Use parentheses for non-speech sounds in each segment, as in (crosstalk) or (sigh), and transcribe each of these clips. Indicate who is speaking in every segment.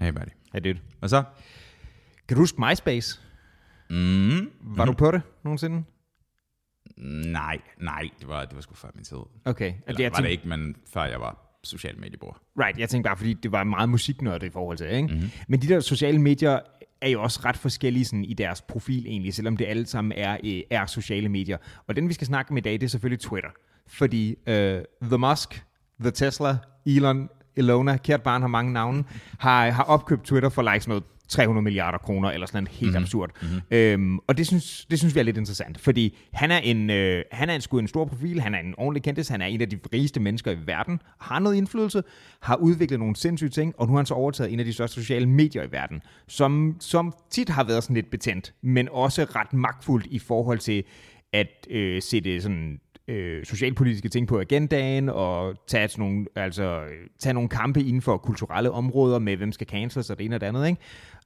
Speaker 1: Hey, buddy.
Speaker 2: Hey dude.
Speaker 1: Og så?
Speaker 2: Kan du huske MySpace?
Speaker 1: Mm,
Speaker 2: Var mm. du på det nogensinde?
Speaker 1: nej, nej, det var, det var sgu før min tid.
Speaker 2: Okay.
Speaker 1: Eller
Speaker 2: jeg
Speaker 1: var det
Speaker 2: tænkte-
Speaker 1: ikke, men før jeg var social mediebror.
Speaker 2: Right, jeg tænkte bare, fordi det var meget musiknørdet i forhold til, ikke?
Speaker 1: Mhm.
Speaker 2: Mm-hmm. Men de der sociale medier er jo også ret forskellige sådan, i deres profil egentlig, selvom det alle sammen er, øh, er sociale medier. Og den, vi skal snakke om i dag, det er selvfølgelig Twitter. Fordi øh, The Musk, The Tesla, Elon, Elona, kært barn har mange navne, har, har opkøbt Twitter for like sådan noget 300 milliarder kroner, eller sådan noget helt mm-hmm. absurd. Mm-hmm. Øhm, og det synes, det synes vi er lidt interessant, fordi han er, en, øh, han er en, sgu en stor profil, han er en ordentlig kendtis, han er en af de rigeste mennesker i verden, har noget indflydelse, har udviklet nogle sindssyge ting, og nu har han så overtaget en af de største sociale medier i verden, som, som tit har været sådan lidt betændt, men også ret magtfuldt i forhold til at øh, sætte sådan øh, socialpolitiske ting på agendaen og tage, sådan nogle, altså, øh, tage nogle kampe inden for kulturelle områder med, hvem skal cancels og det ene og det andet. Ikke?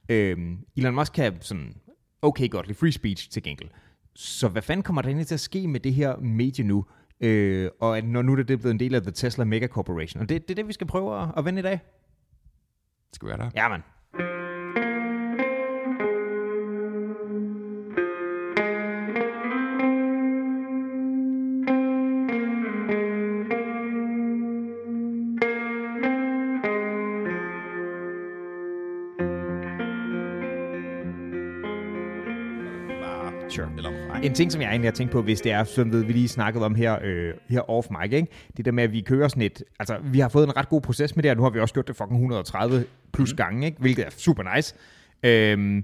Speaker 2: Øh, Elon Musk kan sådan, okay godt lide free speech til gengæld. Så hvad fanden kommer der egentlig til at ske med det her medie nu? Øh, og at når nu er det blevet en del af The Tesla Mega Corporation. Og det, det er det, vi skal prøve at, at vende i dag.
Speaker 1: Skal vi være der?
Speaker 2: Ja, man.
Speaker 1: Bare,
Speaker 2: Sure.
Speaker 1: Eller nej.
Speaker 2: En ting, som jeg egentlig har tænkt på, hvis det er, som ved, vi lige snakkede om her, øh, her off mic, ikke? det der med, at vi kører sådan et, altså vi har fået en ret god proces med det, og nu har vi også gjort det fucking 130 plus gange, ikke? hvilket er super nice. Øhm,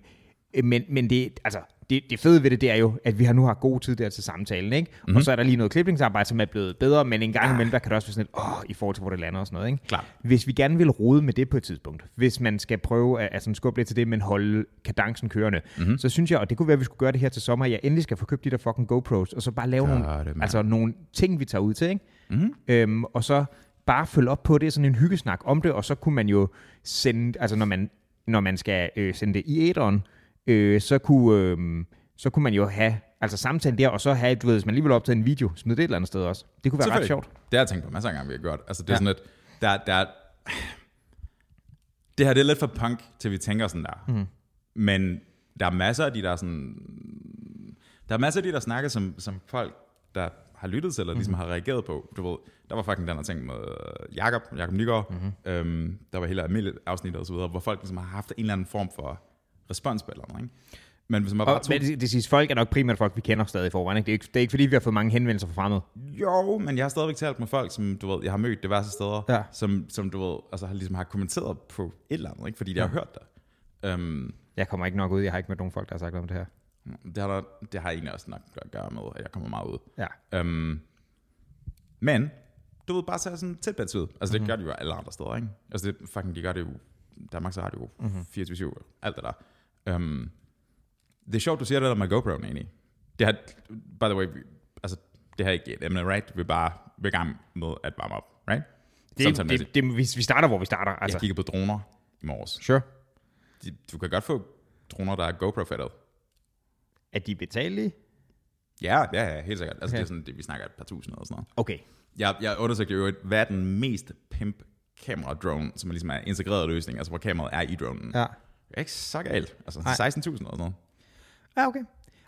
Speaker 2: men, men det, altså, det, det fede ved det, det er jo, at vi har nu har god tid der til samtalen, ikke? Mm-hmm. Og så er der lige noget klipningsarbejde, som er blevet bedre, men en gang imellem, der kan det også være sådan lidt, åh, i forhold til, hvor det lander og sådan noget, ikke?
Speaker 1: Klart.
Speaker 2: Hvis vi gerne vil rode med det på et tidspunkt, hvis man skal prøve at, at sådan skubbe lidt til det, men holde kadencen kørende,
Speaker 1: Mhm.
Speaker 2: mm-hmm. så synes jeg, og det kunne være, at vi skulle gøre det her til sommer, at jeg endelig skal få købt de der fucking GoPros, og så bare lave nogle,
Speaker 1: det, mand. Mhm.
Speaker 2: altså, nogle ting, vi tager ud til, ikke? Mm-hmm. Øhm, og så bare følge op på det, sådan en hyggesnak om det, og så kunne man jo sende, altså når man, når man skal øh, sende det i æderen, øh, så, kunne, øh, så kunne man jo have, altså samtalen der, og så have, du ved, hvis man lige vil optage en video, smid det et eller andet sted også. Det kunne være ret
Speaker 1: Selvfølgelig.
Speaker 2: sjovt.
Speaker 1: Det har jeg tænkt på masser af gange, vi har gjort. Altså, det er
Speaker 2: Ja.
Speaker 1: ja. sådan lidt, der, der, det her det er lidt for punk, til vi tænker sådan der.
Speaker 2: Mhm.
Speaker 1: Mm. Men der er masser af de der sådan, der er masser af de der snakker, som, som folk, der har lyttet til, eller
Speaker 2: Mhm.
Speaker 1: ligesom har reageret på. Du ved, der var fucking den her ting med øh, Jakob, Jakob Nygaard,
Speaker 2: Mhm.
Speaker 1: mm-hmm. øhm, der var hele almindeligt afsnit og så videre, hvor folk ligesom har haft en eller anden form for respons på et eller andet, ikke? Men hvis man bare
Speaker 2: Og,
Speaker 1: tog
Speaker 2: men det, det siges, folk er nok primært folk, vi kender stadig i forvejen. Ikke? Det, er ikke, det er ikke fordi, vi har fået mange henvendelser fra fremmede.
Speaker 1: Jo, men jeg har stadigvæk talt med folk, som du ved, jeg har mødt diverse steder,
Speaker 2: Ja.
Speaker 1: ja. som, som du ved, altså har ligesom har kommenteret på et eller andet, ikke? fordi de har hørt det. Um,
Speaker 2: Jeg kommer ikke nok ud. Jeg har ikke mødt nogen folk, der har sagt om det her.
Speaker 1: det, har der, det har egentlig også nok at gøre med, at jeg kommer meget ud.
Speaker 2: Ja.
Speaker 1: Um, men, du ved, bare tage sådan tæt ud. Altså, det
Speaker 2: Mhm.
Speaker 1: gør de jo alle andre steder, ikke? Altså, det, fucking, de gør det jo. Danmarks Radio,
Speaker 2: Mhm.
Speaker 1: mm-hmm. 24-7, alt det der. Um, det er sjovt, du siger det der med GoPro'en, egentlig. Det her, by the way, vi, altså, det her er ikke et emne, right? Vi er bare vi er i gang med at varme op, right? altså,
Speaker 2: Det, det, det, det, vi, vi starter, hvor vi starter. Altså.
Speaker 1: jeg kiggede på droner i morges.
Speaker 2: Sure.
Speaker 1: De, du kan godt få droner, der er GoPro-fættet.
Speaker 2: Er de betalelige?
Speaker 1: Ja, ja, ja, helt sikkert. Altså,
Speaker 2: Okay.
Speaker 1: okay. det er sådan, det, vi snakker et par tusind og sådan noget.
Speaker 2: Okay.
Speaker 1: Jeg, jeg undersøgte jo, hvad er den mest pimp kamera drone, som ligesom er en integreret løsning, altså hvor kameraet er i dronen.
Speaker 2: Ja.
Speaker 1: Det er ikke så galt. Altså 16.000 eller sådan noget. (laughs)
Speaker 2: Ja, okay.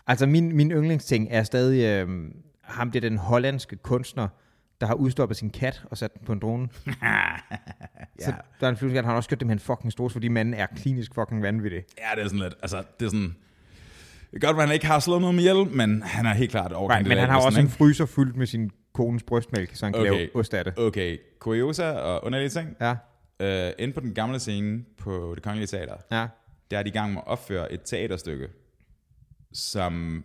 Speaker 2: Altså, min, min yndlingsting er stadig øh, ham, det er den hollandske kunstner, der har udstoppet sin kat og sat den på en drone. ja. Så der er en flyveskat, han har også gjort det med en fucking stor, fordi manden er klinisk fucking vanvittig.
Speaker 1: Ja, det er sådan lidt, altså det er sådan, det er godt, at han ikke har slået noget med ihjel, men han er helt klart overgang.
Speaker 2: Nej, men han har også en fryser fyldt med sin kones brystmælk, så han kan okay. Øh.
Speaker 1: Okay.
Speaker 2: lave ost af det.
Speaker 1: Okay, kuriosa og underlige ting.
Speaker 2: Ja,
Speaker 1: Ja. Øh, inde på den gamle scene på det kongelige teater,
Speaker 2: ja.
Speaker 1: der er de i gang med at opføre et teaterstykke, som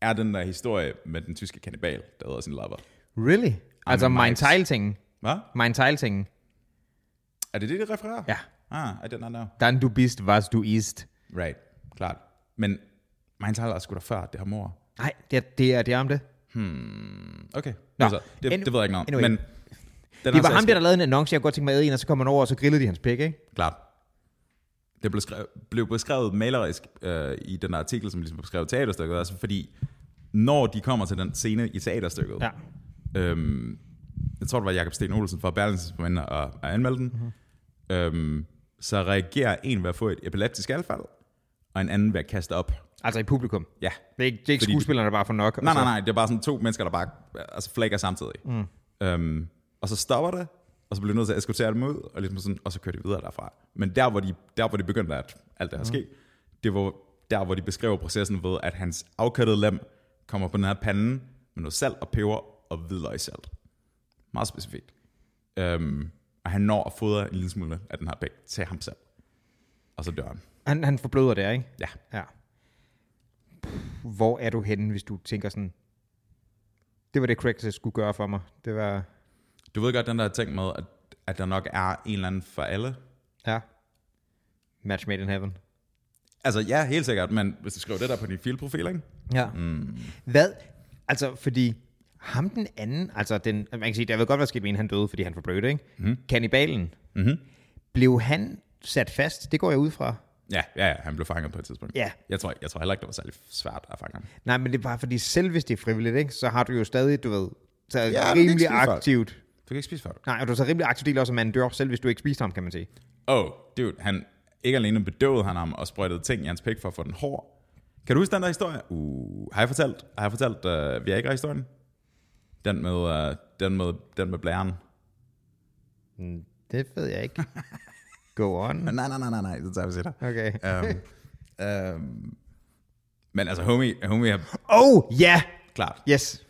Speaker 1: er den der historie med den tyske kannibal, der hedder sin lover.
Speaker 2: Really? Altså
Speaker 1: men
Speaker 2: Mein
Speaker 1: Mike's-
Speaker 2: Teil-tingen.
Speaker 1: Hvad?
Speaker 2: Mein Teil-tingen.
Speaker 1: Er det det, de refererer?
Speaker 2: Ja.
Speaker 1: Ah, I did not know.
Speaker 2: Dann du bist, was du ist.
Speaker 1: Right, klart. Men Mind Tyler er sgu da før, det her mor.
Speaker 2: Nej, det er, det er, det er om det.
Speaker 1: Okay,
Speaker 2: Nå,
Speaker 1: Nå, altså, det,
Speaker 2: any-
Speaker 1: det ved jeg ikke noget om.
Speaker 2: anyway.
Speaker 1: Men altså
Speaker 2: Det var ham der, der lavede en annonce, jeg kunne godt tænke mig ad en, og så kom han over, og så grillede de hans pik, ikke?
Speaker 1: Klart. Det blev, skrevet, blev beskrevet malerisk øh, i den der artikel, som ligesom beskrev teaterstykket, altså fordi når de kommer til den scene i teaterstykket,
Speaker 2: Ja. Mhm.
Speaker 1: øhm, jeg tror, det var Jakob Sten Olsen fra Berlingske, som var inde og, og anmeldte den, mm-hmm. øhm, så reagerer en ved at få et epileptisk anfald, og en anden ved at kaste op.
Speaker 2: Altså i publikum.
Speaker 1: Ja.
Speaker 2: Det er ikke, det er ikke
Speaker 1: Fordi-
Speaker 2: skuespillerne, der bare får nok. Altså, og
Speaker 1: Nej,
Speaker 2: så-
Speaker 1: nej, nej, det er bare sådan to mennesker, der bare altså flækker samtidig. Altså- Mm. Øhm, og så stopper det, og så bliver de nødt til at eskortere dem ud, og, ligesom sådan, og så kører de videre derfra. Men der, hvor de, der, hvor de begyndte, at alt det her mm. ske, det var der, hvor de beskriver processen ved, at hans afkøttede lem kommer på den her pande med noget salt og peber og hvidløgssalt. Meget specifikt. Øhm, og han når at fodre en lille smule af den her bæk til ham selv. Og så dør han.
Speaker 2: Han, han forbløder der, ikke?
Speaker 1: Ja.
Speaker 2: Ja. Hvor er du henne, hvis du tænker sådan, det var det, Craig skulle gøre for mig. Det var,
Speaker 1: Du ved godt den der ting med, at, at der nok er en eller anden for alle,
Speaker 2: ja, match made in heaven.
Speaker 1: Altså ja, helt sikkert, men hvis du skriver det der på din filprofil, ikke?
Speaker 2: Ja. Mm. Hvad? Altså, fordi ham den anden, altså den, man kan sige, der ved godt, hvad der skete med en, han døde, fordi han forblødte, ikke? Mm. Kannibalen.
Speaker 1: Mhm.
Speaker 2: Blev han sat fast? Det går jeg ud fra.
Speaker 1: Ja, ja, ja, han blev fanget på et tidspunkt.
Speaker 2: Ja.
Speaker 1: Jeg tror, jeg tror heller ikke, det var særlig svært at fange ham.
Speaker 2: Nej, men det er bare fordi, selv hvis det er frivilligt, ikke, så har du jo stadig, du ved, så
Speaker 1: det er
Speaker 2: ja,
Speaker 1: ikke
Speaker 2: rimelig
Speaker 1: skide folk.
Speaker 2: aktivt.
Speaker 1: Du kan ikke spise før.
Speaker 2: Nej, og du er så rimelig aktiv del også, at man dør, selv hvis du ikke spiste ham, kan man sige.
Speaker 1: Oh, dude, han, ikke alene bedøvede han ham og sprøjtede ting i hans pik for at få den hård. Kan du huske den der historie? Uh, har jeg fortalt, har jeg fortalt uh, Viagra-historien? Den med, uh, den med, den med blæren.
Speaker 2: Mm, Det ved
Speaker 1: (laughs)
Speaker 2: jeg ikke. Go on.
Speaker 1: Nej, nej, nej, nej, nej, det tager vi senere. (laughs)
Speaker 2: Okay.
Speaker 1: Um, um, men altså, homie, homie er
Speaker 2: Oh, ja!
Speaker 1: klart.
Speaker 2: Yes.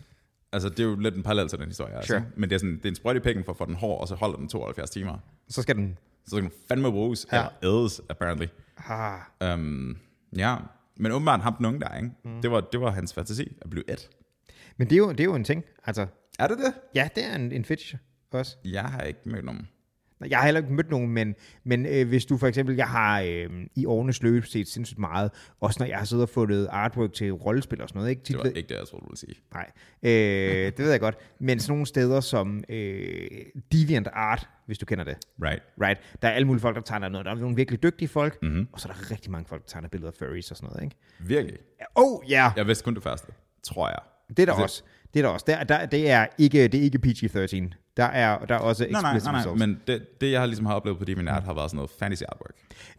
Speaker 1: Altså, det er jo lidt en parallel til den historie. Altså.
Speaker 2: Sure.
Speaker 1: Men det er, sådan, det er en sprøjt i pikken for at få den hård, og så holder den 72 timer.
Speaker 2: Så skal den...
Speaker 1: Så skal den fandme bruges, ja. eller ædes, apparently.
Speaker 2: Ah,
Speaker 1: Um, ja, men åbenbart ham den unge der, ikke? Mm. Det, var, det var hans fantasi at blive et.
Speaker 2: Men det er, jo, det er jo en ting. Altså,
Speaker 1: Er det det?
Speaker 2: ja, det er en, en fetish også.
Speaker 1: Jeg har ikke mødt nogen.
Speaker 2: Nå, Jeg har heller ikke mødt nogen, men, men øh, hvis du for eksempel, jeg har øh, i årenes løb set sindssygt meget, også når jeg har siddet og fundet artwork til rollespil og sådan noget, ikke? Tit
Speaker 1: Det var
Speaker 2: ved-
Speaker 1: ikke det, jeg troede, du ville sige.
Speaker 2: Nej, øh, det ved jeg godt. Men sådan nogle steder som øh, Deviant Art, hvis du kender det,
Speaker 1: Right.
Speaker 2: right? Der er alle mulige folk, der tegner noget. Der er nogle virkelig dygtige folk,
Speaker 1: Mhm.
Speaker 2: mm-hmm. og så er der rigtig mange folk, der tegner billeder af furries og sådan noget, ikke?
Speaker 1: Virkelig.
Speaker 2: Oh, ja! Yeah.
Speaker 1: Jeg vidste kun det første, tror jeg.
Speaker 2: Det er der også. Det er der også. Der, der, det, er ikke, det er ikke PG-13. Der er, der er også
Speaker 1: Nej, nej,
Speaker 2: explicit
Speaker 1: nej, nej,
Speaker 2: results.
Speaker 1: men det, det, jeg har ligesom har oplevet på Deviant Art, har været sådan noget fantasy artwork.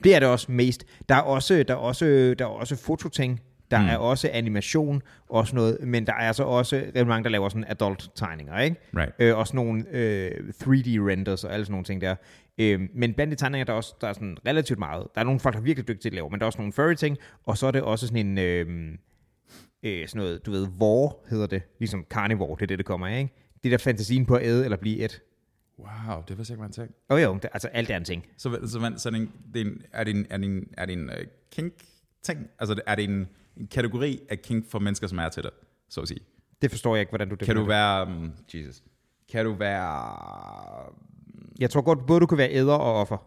Speaker 2: Det er det også mest. Der er også, der er også, der er også fototing. Der mm. er også animation og sådan noget, men der er så også rigtig mange, der laver sådan adult-tegninger, ikke?
Speaker 1: Right.
Speaker 2: Øh, og sådan nogle øh, 3D-renders og alle sådan nogle ting der. Øh, men blandt de tegninger, der er, også, der er sådan relativt meget. Der er nogle folk, der er virkelig dygtige til at lave, men der er også nogle furry-ting, og så er det også sådan en... Øh, øh, sådan noget, du ved, vor hedder det, ligesom carnivore, det er det, det kommer af, ikke? Det der fantasien på at æde eller blive et.
Speaker 1: Wow, det var sikkert en ting.
Speaker 2: Jo jo, det, altså alt er en ting.
Speaker 1: Så, så, man, så er, det en, det er, en, er det en, er det en, er det en uh, kink-ting? Altså er det en, en kategori af kink for mennesker, som er til det, så at sige?
Speaker 2: Det forstår jeg ikke, hvordan du det
Speaker 1: Kan du være...
Speaker 2: Mm,
Speaker 1: Um, Jesus. Kan du være...
Speaker 2: Jeg tror godt, både du kan være æder og offer.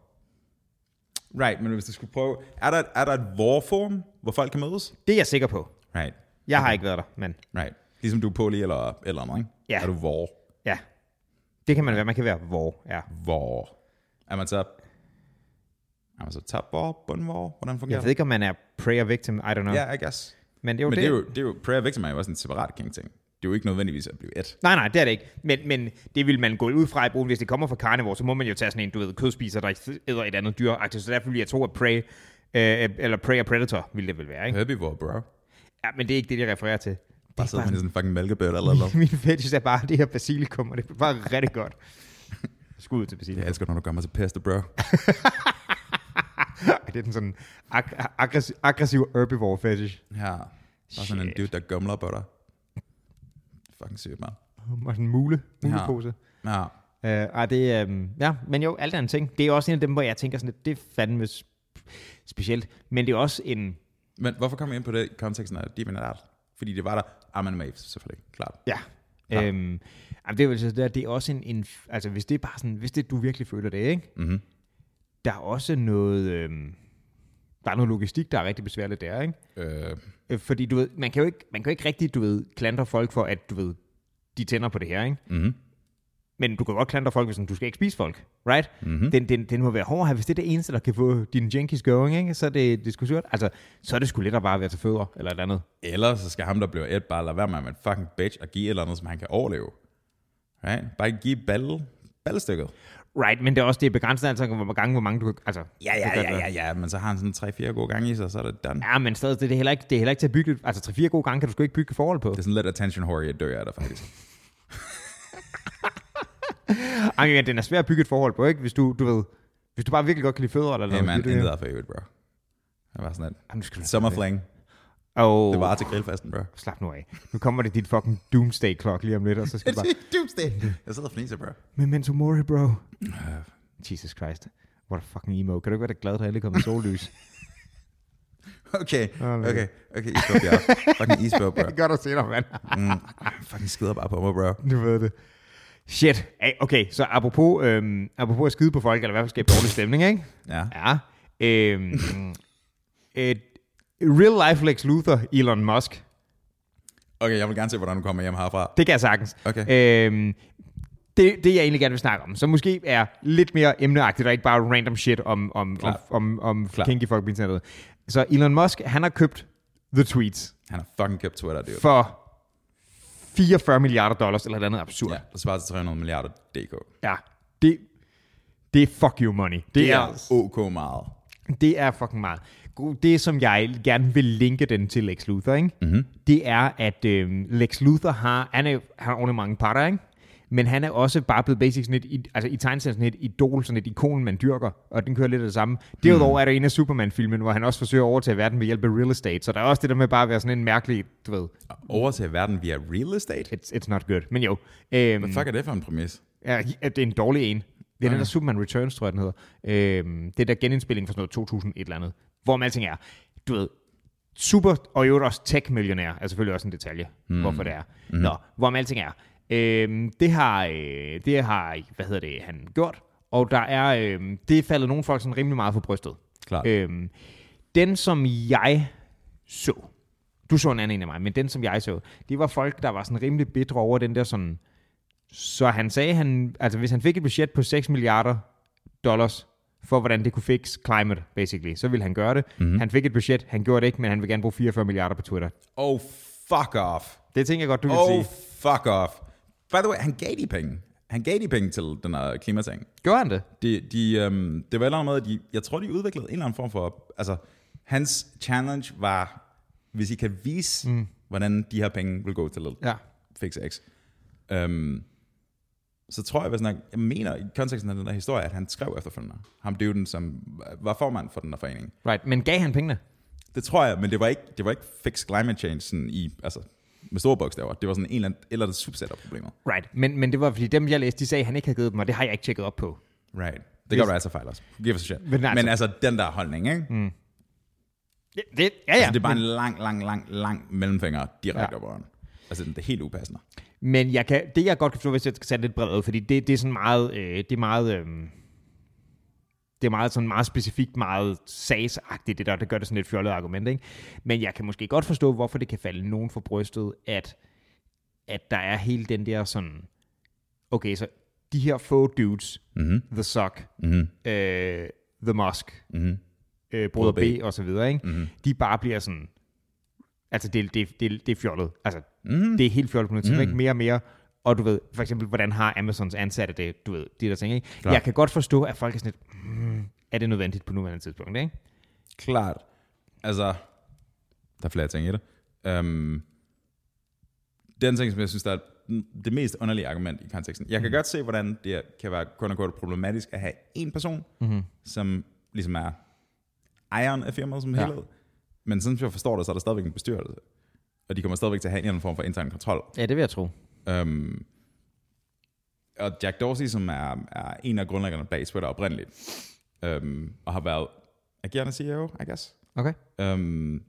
Speaker 1: Right, men hvis du skulle prøve... Er der, er der et vorform, hvor folk kan mødes?
Speaker 2: Det er jeg sikker på.
Speaker 1: Right,
Speaker 2: Jeg har ikke været der, men
Speaker 1: right. Ligesom du er poli eller eller andet, ikke?
Speaker 2: Ja.
Speaker 1: Er du vor?
Speaker 2: ja. Det kan man være. Man kan være hvor, ja.
Speaker 1: Vor. Er man så... Er man så top vor, bund vor? Hvordan fungerer
Speaker 2: Jeg ved ikke, om man er prayer victim, I don't know.
Speaker 1: det?
Speaker 2: Yeah.
Speaker 1: Ja, I guess.
Speaker 2: Men det er jo
Speaker 1: Men
Speaker 2: det.
Speaker 1: det er jo, det er jo prayer victim er jo også en separat kink-ting. Det er jo ikke nødvendigvis at blive et.
Speaker 2: Nej, nej, det er det ikke. Men, men det vil man gå ud fra i brugen. Hvis det kommer fra carnivore, så må man jo tage sådan en, du ved, kødspiser, der æder et andet dyr. -agtigt. Så derfor vil jeg tro, at prey, øh, eller prey og predator, ville det vel være, ikke?
Speaker 1: Herbivore, bro.
Speaker 2: Ja, men det er ikke det, jeg refererer til. Det
Speaker 1: Bare
Speaker 2: er
Speaker 1: sidder
Speaker 2: bare,
Speaker 1: man i sådan en fucking mælkebøtte eller noget.
Speaker 2: (laughs) min fetish er bare det her basilikum, og det er bare rigtig godt. Skud ud til basilikum.
Speaker 1: Jeg elsker, når du gør mig til peste, bro.
Speaker 2: Ej, det er den sådan ag- ag- aggressiv, aggressiv herbivore fetish.
Speaker 1: Ja. Bare sådan en
Speaker 2: Shit.
Speaker 1: dude, der gumler på dig. Fucking sygt, mand.
Speaker 2: Og sådan en mule, mulepose.
Speaker 1: Ja.
Speaker 2: Ja. Øh, ej, det er, øhm, ja, men jo, alt er en ting. Det er også en af dem, hvor jeg tænker sådan lidt, det er fandme sp- specielt. Men det er også en,
Speaker 1: Men hvorfor kom jeg ind på det i konteksten af Demon Art? Fordi det var der. Ah, men Maves, selvfølgelig. Klart.
Speaker 2: ja,
Speaker 1: Ja.
Speaker 2: Øhm, jamen, det er vel så der, det er også en, en, altså hvis det er bare sådan, hvis det er, du virkelig føler det, ikke?
Speaker 1: Mm-hmm.
Speaker 2: Der er også noget, øhm, der er noget logistik, der er rigtig besværligt der, ikke?
Speaker 1: Øh,
Speaker 2: Øh, fordi du ved, man kan jo ikke, man kan jo ikke rigtig, du ved, klandre folk for, at du ved, de tænder på det her, ikke?
Speaker 1: mm-hmm.
Speaker 2: Men du kan godt klandre folk, hvis sådan, du skal ikke spise folk, right?
Speaker 1: Mhm.
Speaker 2: Mm-hmm. Den, den, den må være hård her. Hvis det er det eneste, der kan få din junkies going, ikke? så er det, det er sgu surt. Altså, så er det sgu lettere bare at være til fødder eller et andet.
Speaker 1: Eller så skal ham, der bliver et, bare lade være med at være en fucking bitch og give et eller andet, som han kan overleve. Right? Bare give balle, ballestykket.
Speaker 2: Right, men det er også det er begrænset, altså, hvor gange, hvor mange du kan... Altså,
Speaker 1: Ja,
Speaker 2: du
Speaker 1: ja,
Speaker 2: kan
Speaker 1: ja,
Speaker 2: gøre.
Speaker 1: ja, ja, men så har han sådan 3-4 gode gange i sig, så er det done.
Speaker 2: Ja, men stadig, det er heller ikke, det er heller ikke til at bygge... Altså, 3-4 gode gange kan du sgu ikke bygge et forhold på.
Speaker 1: Det er sådan lidt attention whore, jeg dør af dig faktisk.
Speaker 2: Ej, men den er svær at bygge et forhold på, ikke? Hvis du, du ved... Hvis du bare virkelig godt kan lide fødder eller
Speaker 1: Hey
Speaker 2: noget.
Speaker 1: man,
Speaker 2: det er det.
Speaker 1: intet er for evigt, bro. Jeg var sådan
Speaker 2: Ej, nu skal du...
Speaker 1: et summer fling.
Speaker 2: Oh,
Speaker 1: Det var til grillfesten,
Speaker 2: (laughs)
Speaker 1: bro.
Speaker 2: Slap nu af. Nu kommer det dit fucking doomsday clock lige om lidt, og så skal du bare... (laughs)
Speaker 1: Doomsday. Jeg sidder og fniser, bro. (laughs)
Speaker 2: Memento mori, bro. Jesus Christ. What a fucking emo. Kan du ikke være da glad, at der endelig kommer (laughs) sollys?
Speaker 1: Okay,
Speaker 2: lad
Speaker 1: okay, okay, isbog, ja. Fucking isbog, bro.
Speaker 2: gør du senere, mand.
Speaker 1: Mm. Fucking skider bare på mig, bro.
Speaker 2: (laughs) Du ved det. Shit. Ej, Okay, så apropos, øhm, apropos at skide på folk, eller i hvert fald skabe dårlig stemning, ikke?
Speaker 1: Ja.
Speaker 2: Ja. Øhm, (laughs) et real life Lex Luthor, Elon Musk.
Speaker 1: Okay, jeg vil gerne se, hvordan du kommer hjem herfra.
Speaker 2: Det kan jeg sagtens.
Speaker 1: Okay.
Speaker 2: Øhm, det, det, jeg egentlig gerne vil snakke om, som måske er lidt mere emneagtigt, og ikke bare random shit om, om, om,
Speaker 1: Klart.
Speaker 2: om, om
Speaker 1: Klart.
Speaker 2: kinky folk på internettet. Så Elon Musk, han har købt The Tweets
Speaker 1: Han har fucking købt Twitter, dude.
Speaker 2: for 44 milliarder dollars, eller et eller andet absurd.
Speaker 1: Ja, det svarer til 300 milliarder DK.
Speaker 2: Ja, det, det er fuck you money. Det,
Speaker 1: Det er altså-
Speaker 2: er,
Speaker 1: ok meget.
Speaker 2: det er fucking meget. God, Det, som jeg gerne vil linke den til Lex Luthor, ikke? Mm-hmm. det er, at øh, Lex Luthor har, han, er, jo- han har ordentligt mange parter, ikke? men han er også bare blevet basic sådan et, i- altså i tegneserien sådan et idol, sådan et ikon, man dyrker, og den kører lidt af det samme. Derudover er der en af Superman-filmen, hvor han også forsøger at overtage verden ved hjælp af real estate, så der er også det der med bare at være sådan en mærkelig, du ved,
Speaker 1: Over til verden via real estate?
Speaker 2: it's, it's not good, men jo. Øhm,
Speaker 1: Fuck er det for en præmis?
Speaker 2: Ja, at det er en dårlig en. Det er den der Superman Returns, tror jeg, den hedder. Øhm, det er der genindspilling fra sådan noget 2000 et eller andet. Hvor man alting er. Du ved, super, og i øvrigt også tech-millionær, er selvfølgelig også en detalje, mm. hvorfor det er. Mm. Nå, hvor man alting er. Øhm, det, har, øh, det har, hvad hedder det, han gjort. Og der er, øhm, det er faldet nogle folk sådan rimelig meget for brystet.
Speaker 1: Klart.
Speaker 2: Øhm, den, som jeg så, du så en anden en af mig, men den, som jeg så, det var folk, der var sådan rimelig bitre over den der sådan, så han sagde, han, altså hvis han fik et budget på 6 milliarder dollars, for hvordan det kunne fix climate, basically, så ville han gøre det. Mm-hmm. Han fik et budget, han gjorde det ikke, men han vil gerne bruge 44 milliarder på Twitter.
Speaker 1: Oh, fuck off.
Speaker 2: Det tænker jeg godt, du vil
Speaker 1: Oh,
Speaker 2: sige.
Speaker 1: fuck off. By the way, han gav de penge. Han gav de penge til den her klimating.
Speaker 2: Gjorde han det?
Speaker 1: De, de, øhm, det var et eller andet måde, de, jeg tror, de udviklede en eller anden form for... Altså, hans challenge var, hvis I kan vise, mm. hvordan de her penge vil gå til Little
Speaker 2: Ja.
Speaker 1: Fix X. Øhm, så tror jeg, hvis han, jeg mener i konteksten af den der historie, at han skrev efterfølgende. Ham døden, som var formand for den her forening.
Speaker 2: Right, men gav han pengene?
Speaker 1: Det tror jeg, men det var ikke, det var ikke fix climate change sådan i, altså, med store bogstaver. Det var sådan en eller anden, et eller andet subset af problemer.
Speaker 2: Right, men, men det var, fordi dem, jeg læste, de sagde, at han ikke havde givet dem, og det har jeg ikke tjekket op på.
Speaker 1: Right. Det kan godt være, at jeg fejler os. Give us a shit.
Speaker 2: Men
Speaker 1: Men
Speaker 2: nej,
Speaker 1: altså, men altså den der holdning, ikke? Mm.
Speaker 2: Det, det, ja, ja.
Speaker 1: Altså, det er bare en lang, lang, lang, lang mellemfinger direkte
Speaker 2: Ja.
Speaker 1: ja. op røven. Altså, det er helt upassende.
Speaker 2: Men jeg kan, det, jeg godt kan forstå, hvis jeg skal sætte lidt bredt ud, fordi det, det er sådan meget... Øh, det er meget øh, det er meget, sådan meget specifikt, meget sagsagtigt, det der, det gør det sådan lidt fjollet argument, ikke? Men jeg kan måske godt forstå, hvorfor det kan falde nogen for brystet, at, at der er hele den der sådan, okay, så de her få dudes,
Speaker 1: Mhm,
Speaker 2: mm-hmm. The Sock, mm-hmm. øh, The Musk, mm-hmm.
Speaker 1: mhm,
Speaker 2: øh, Broder B.
Speaker 1: Broder
Speaker 2: B og så videre, ikke? Mm-hmm. de bare bliver sådan, altså det, det, det, det er fjollet, altså mm.
Speaker 1: mhm.
Speaker 2: det er helt fjollet på noget tidspunkt, mm. mere og mere, og du ved, for eksempel, hvordan har Amazons ansatte det, du ved, de der ting, ikke? Klar. Jeg kan godt forstå, at folk er sådan lidt, mm, er det nødvendigt på nuværende tidspunkt, ikke?
Speaker 1: Klart. Altså, der er flere ting i det. Um, den ting, som jeg synes, der er det mest underlige argument i konteksten. Jeg kan mm. godt se, hvordan det kan være kun og kort problematisk at have en person, mm-hmm. som ligesom er ejeren af firmaet som
Speaker 2: Ja.
Speaker 1: ja. helhed. Men sådan som jeg forstår det, så er der stadigvæk en bestyrelse. Og de kommer stadigvæk til at have en eller anden form for intern kontrol.
Speaker 2: Ja, det vil jeg tro.
Speaker 1: Um, og Jack Dorsey, som er, er en af grundlæggerne bag Twitter oprindeligt, um, og har været agerende CEO, I guess.
Speaker 2: Okay.
Speaker 1: Um,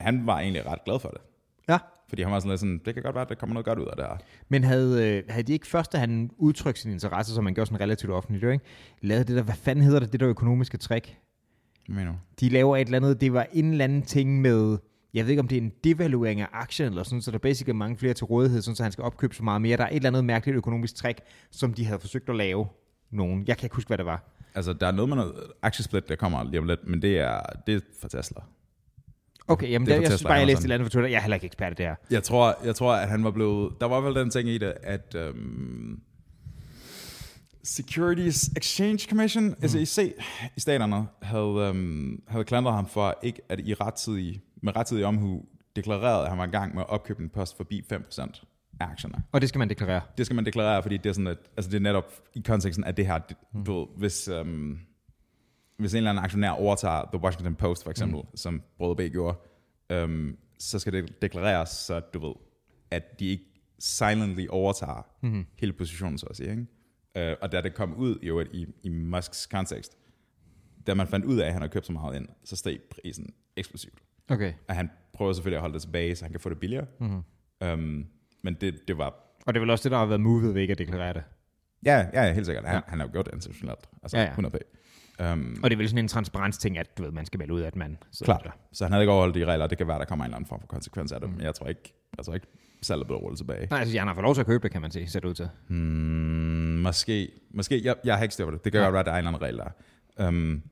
Speaker 1: han var egentlig ret glad for det.
Speaker 2: Ja.
Speaker 1: Fordi han var sådan lidt sådan, det kan godt være, at der kommer noget godt ud af det her.
Speaker 2: Men havde, øh, havde de ikke først, da han udtrykte sin interesse, som han gjorde sådan relativt offentligt, jo, ikke? lavet det der, hvad fanden hedder det, det der økonomiske trick?
Speaker 1: Hvad mener du?
Speaker 2: De laver et eller andet, det var en eller anden ting med, jeg ved ikke om det er en devaluering af aktien, eller sådan, så der basically er mange flere til rådighed, sådan, så han skal opkøbe så meget mere. Der er et eller andet mærkeligt økonomisk trick, som de havde forsøgt at lave nogen. Jeg kan ikke huske, hvad det var.
Speaker 1: Altså, der er noget med noget aktiesplit, der kommer lige om lidt, men det er, det er for Tesla.
Speaker 2: Okay, jamen
Speaker 1: Det
Speaker 2: det
Speaker 1: er fra
Speaker 2: der, jeg synes
Speaker 1: Tesla,
Speaker 2: bare, jeg
Speaker 1: Amazon.
Speaker 2: læste et eller andet på Twitter. Jeg er heller ikke ekspert i det her.
Speaker 1: Jeg tror, jeg tror, at han var blevet... Der var vel den ting i det, at øhm, Securities Exchange Commission, mm. SEC, i staterne, havde, øhm, havde klandret ham for ikke at i rettidig, med rettidig omhu deklarerede, at han var i gang med at opkøbe en post forbi 5% af aktierne.
Speaker 2: Og det skal man deklarere.
Speaker 1: Det skal man deklarere, fordi det er, sådan, at, altså det er netop i konteksten af det her, det, du ved, hvis, øhm, hvis en eller anden aktionær overtager The Washington Post for eksempel, mm. som Brød B. gjorde, øhm, så skal det deklareres, så du ved, at de ikke silently overtager
Speaker 2: Mhm.
Speaker 1: mm. hele positionen, så at sige. Ikke? Øh, og da det kom ud jo, at i, i Musks kontekst, da man fandt ud af, at han havde købt så meget ind, så steg prisen eksplosivt.
Speaker 2: Okay.
Speaker 1: Og han prøver selvfølgelig at holde det tilbage, så han kan få det billigere. Mm. Øhm, men det, det var...
Speaker 2: Og det er vel også det, der har været movet ved ikke at deklarere det.
Speaker 1: Ja, ja, ja, helt sikkert. Han, ja. han har jo gjort det internationalt. Altså,
Speaker 2: Ja,
Speaker 1: ja, ja.
Speaker 2: ja.
Speaker 1: 100 p. Um,
Speaker 2: Og det er vel sådan en transparensting, at du ved, man skal melde ud, at man sidder
Speaker 1: klart.
Speaker 2: der.
Speaker 1: Så han havde ikke overholdt de regler, og det kan være, der kommer en eller anden form for konsekvens af det. Men jeg tror ikke, jeg tror ikke salget blev rullet tilbage.
Speaker 2: Nej, altså, han har fået lov til at købe det, kan man sige, ser det ud til.
Speaker 1: Mm, måske. Måske. Jeg, jeg har ikke styr på det. Det kan
Speaker 2: Ja.
Speaker 1: godt være, at der er en eller anden regel der. Um,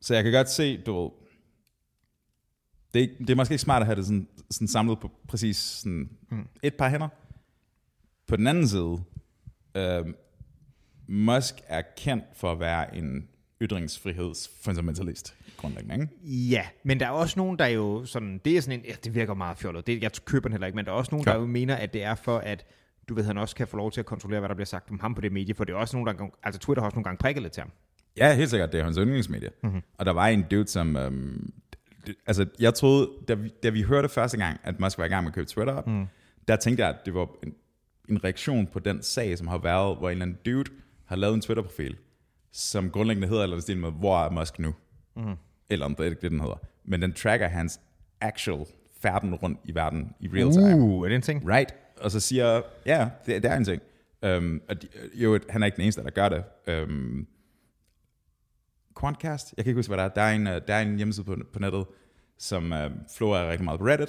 Speaker 1: så jeg kan godt se, du ved, det er, ikke- det er måske ikke smart at have det sådan, sådan samlet på præcis sådan mm. et par hænder. På den anden side, um, Musk er kendt for at være en ytringsfrihedsfundamentalist grundlæggende, ikke?
Speaker 2: Ja, men der er også nogen, der jo sådan, det er sådan en, ja, det virker meget fjollet, det, jeg køber den heller ikke, men der er også nogen,
Speaker 1: Ja.
Speaker 2: der jo mener, at det er for, at du ved, han også kan få lov til at kontrollere, hvad der bliver sagt om ham på det medie, for det er også nogen, der, engang- altså Twitter har også nogle gange prikket lidt til ham.
Speaker 1: Ja, helt sikkert. Det er hans yndlingsmedie. Mm-hmm. Og der var en dude, som... Øhm, det, altså, jeg troede, da vi, da vi hørte første gang, at Musk var i gang med at købe Twitter op, mm. der tænkte jeg, at det var en, en reaktion på den sag, som har været, hvor en eller anden dude har lavet en Twitter-profil, som grundlæggende hedder, eller stil med, hvor er Musk nu? Mm. Eller om det er ikke det, den hedder. Men den tracker hans actual færden rundt i verden i real time.
Speaker 2: Uh, er det en ting?
Speaker 1: Right. Og så siger, ja, det, det er en ting. Um, og de, jo, han er ikke den eneste, der gør det. Um, Quantcast, jeg kan ikke huske, hvad der er. Der er en, øh, der er en hjemmeside på, på nettet, som uh, florerer rigtig meget på Reddit.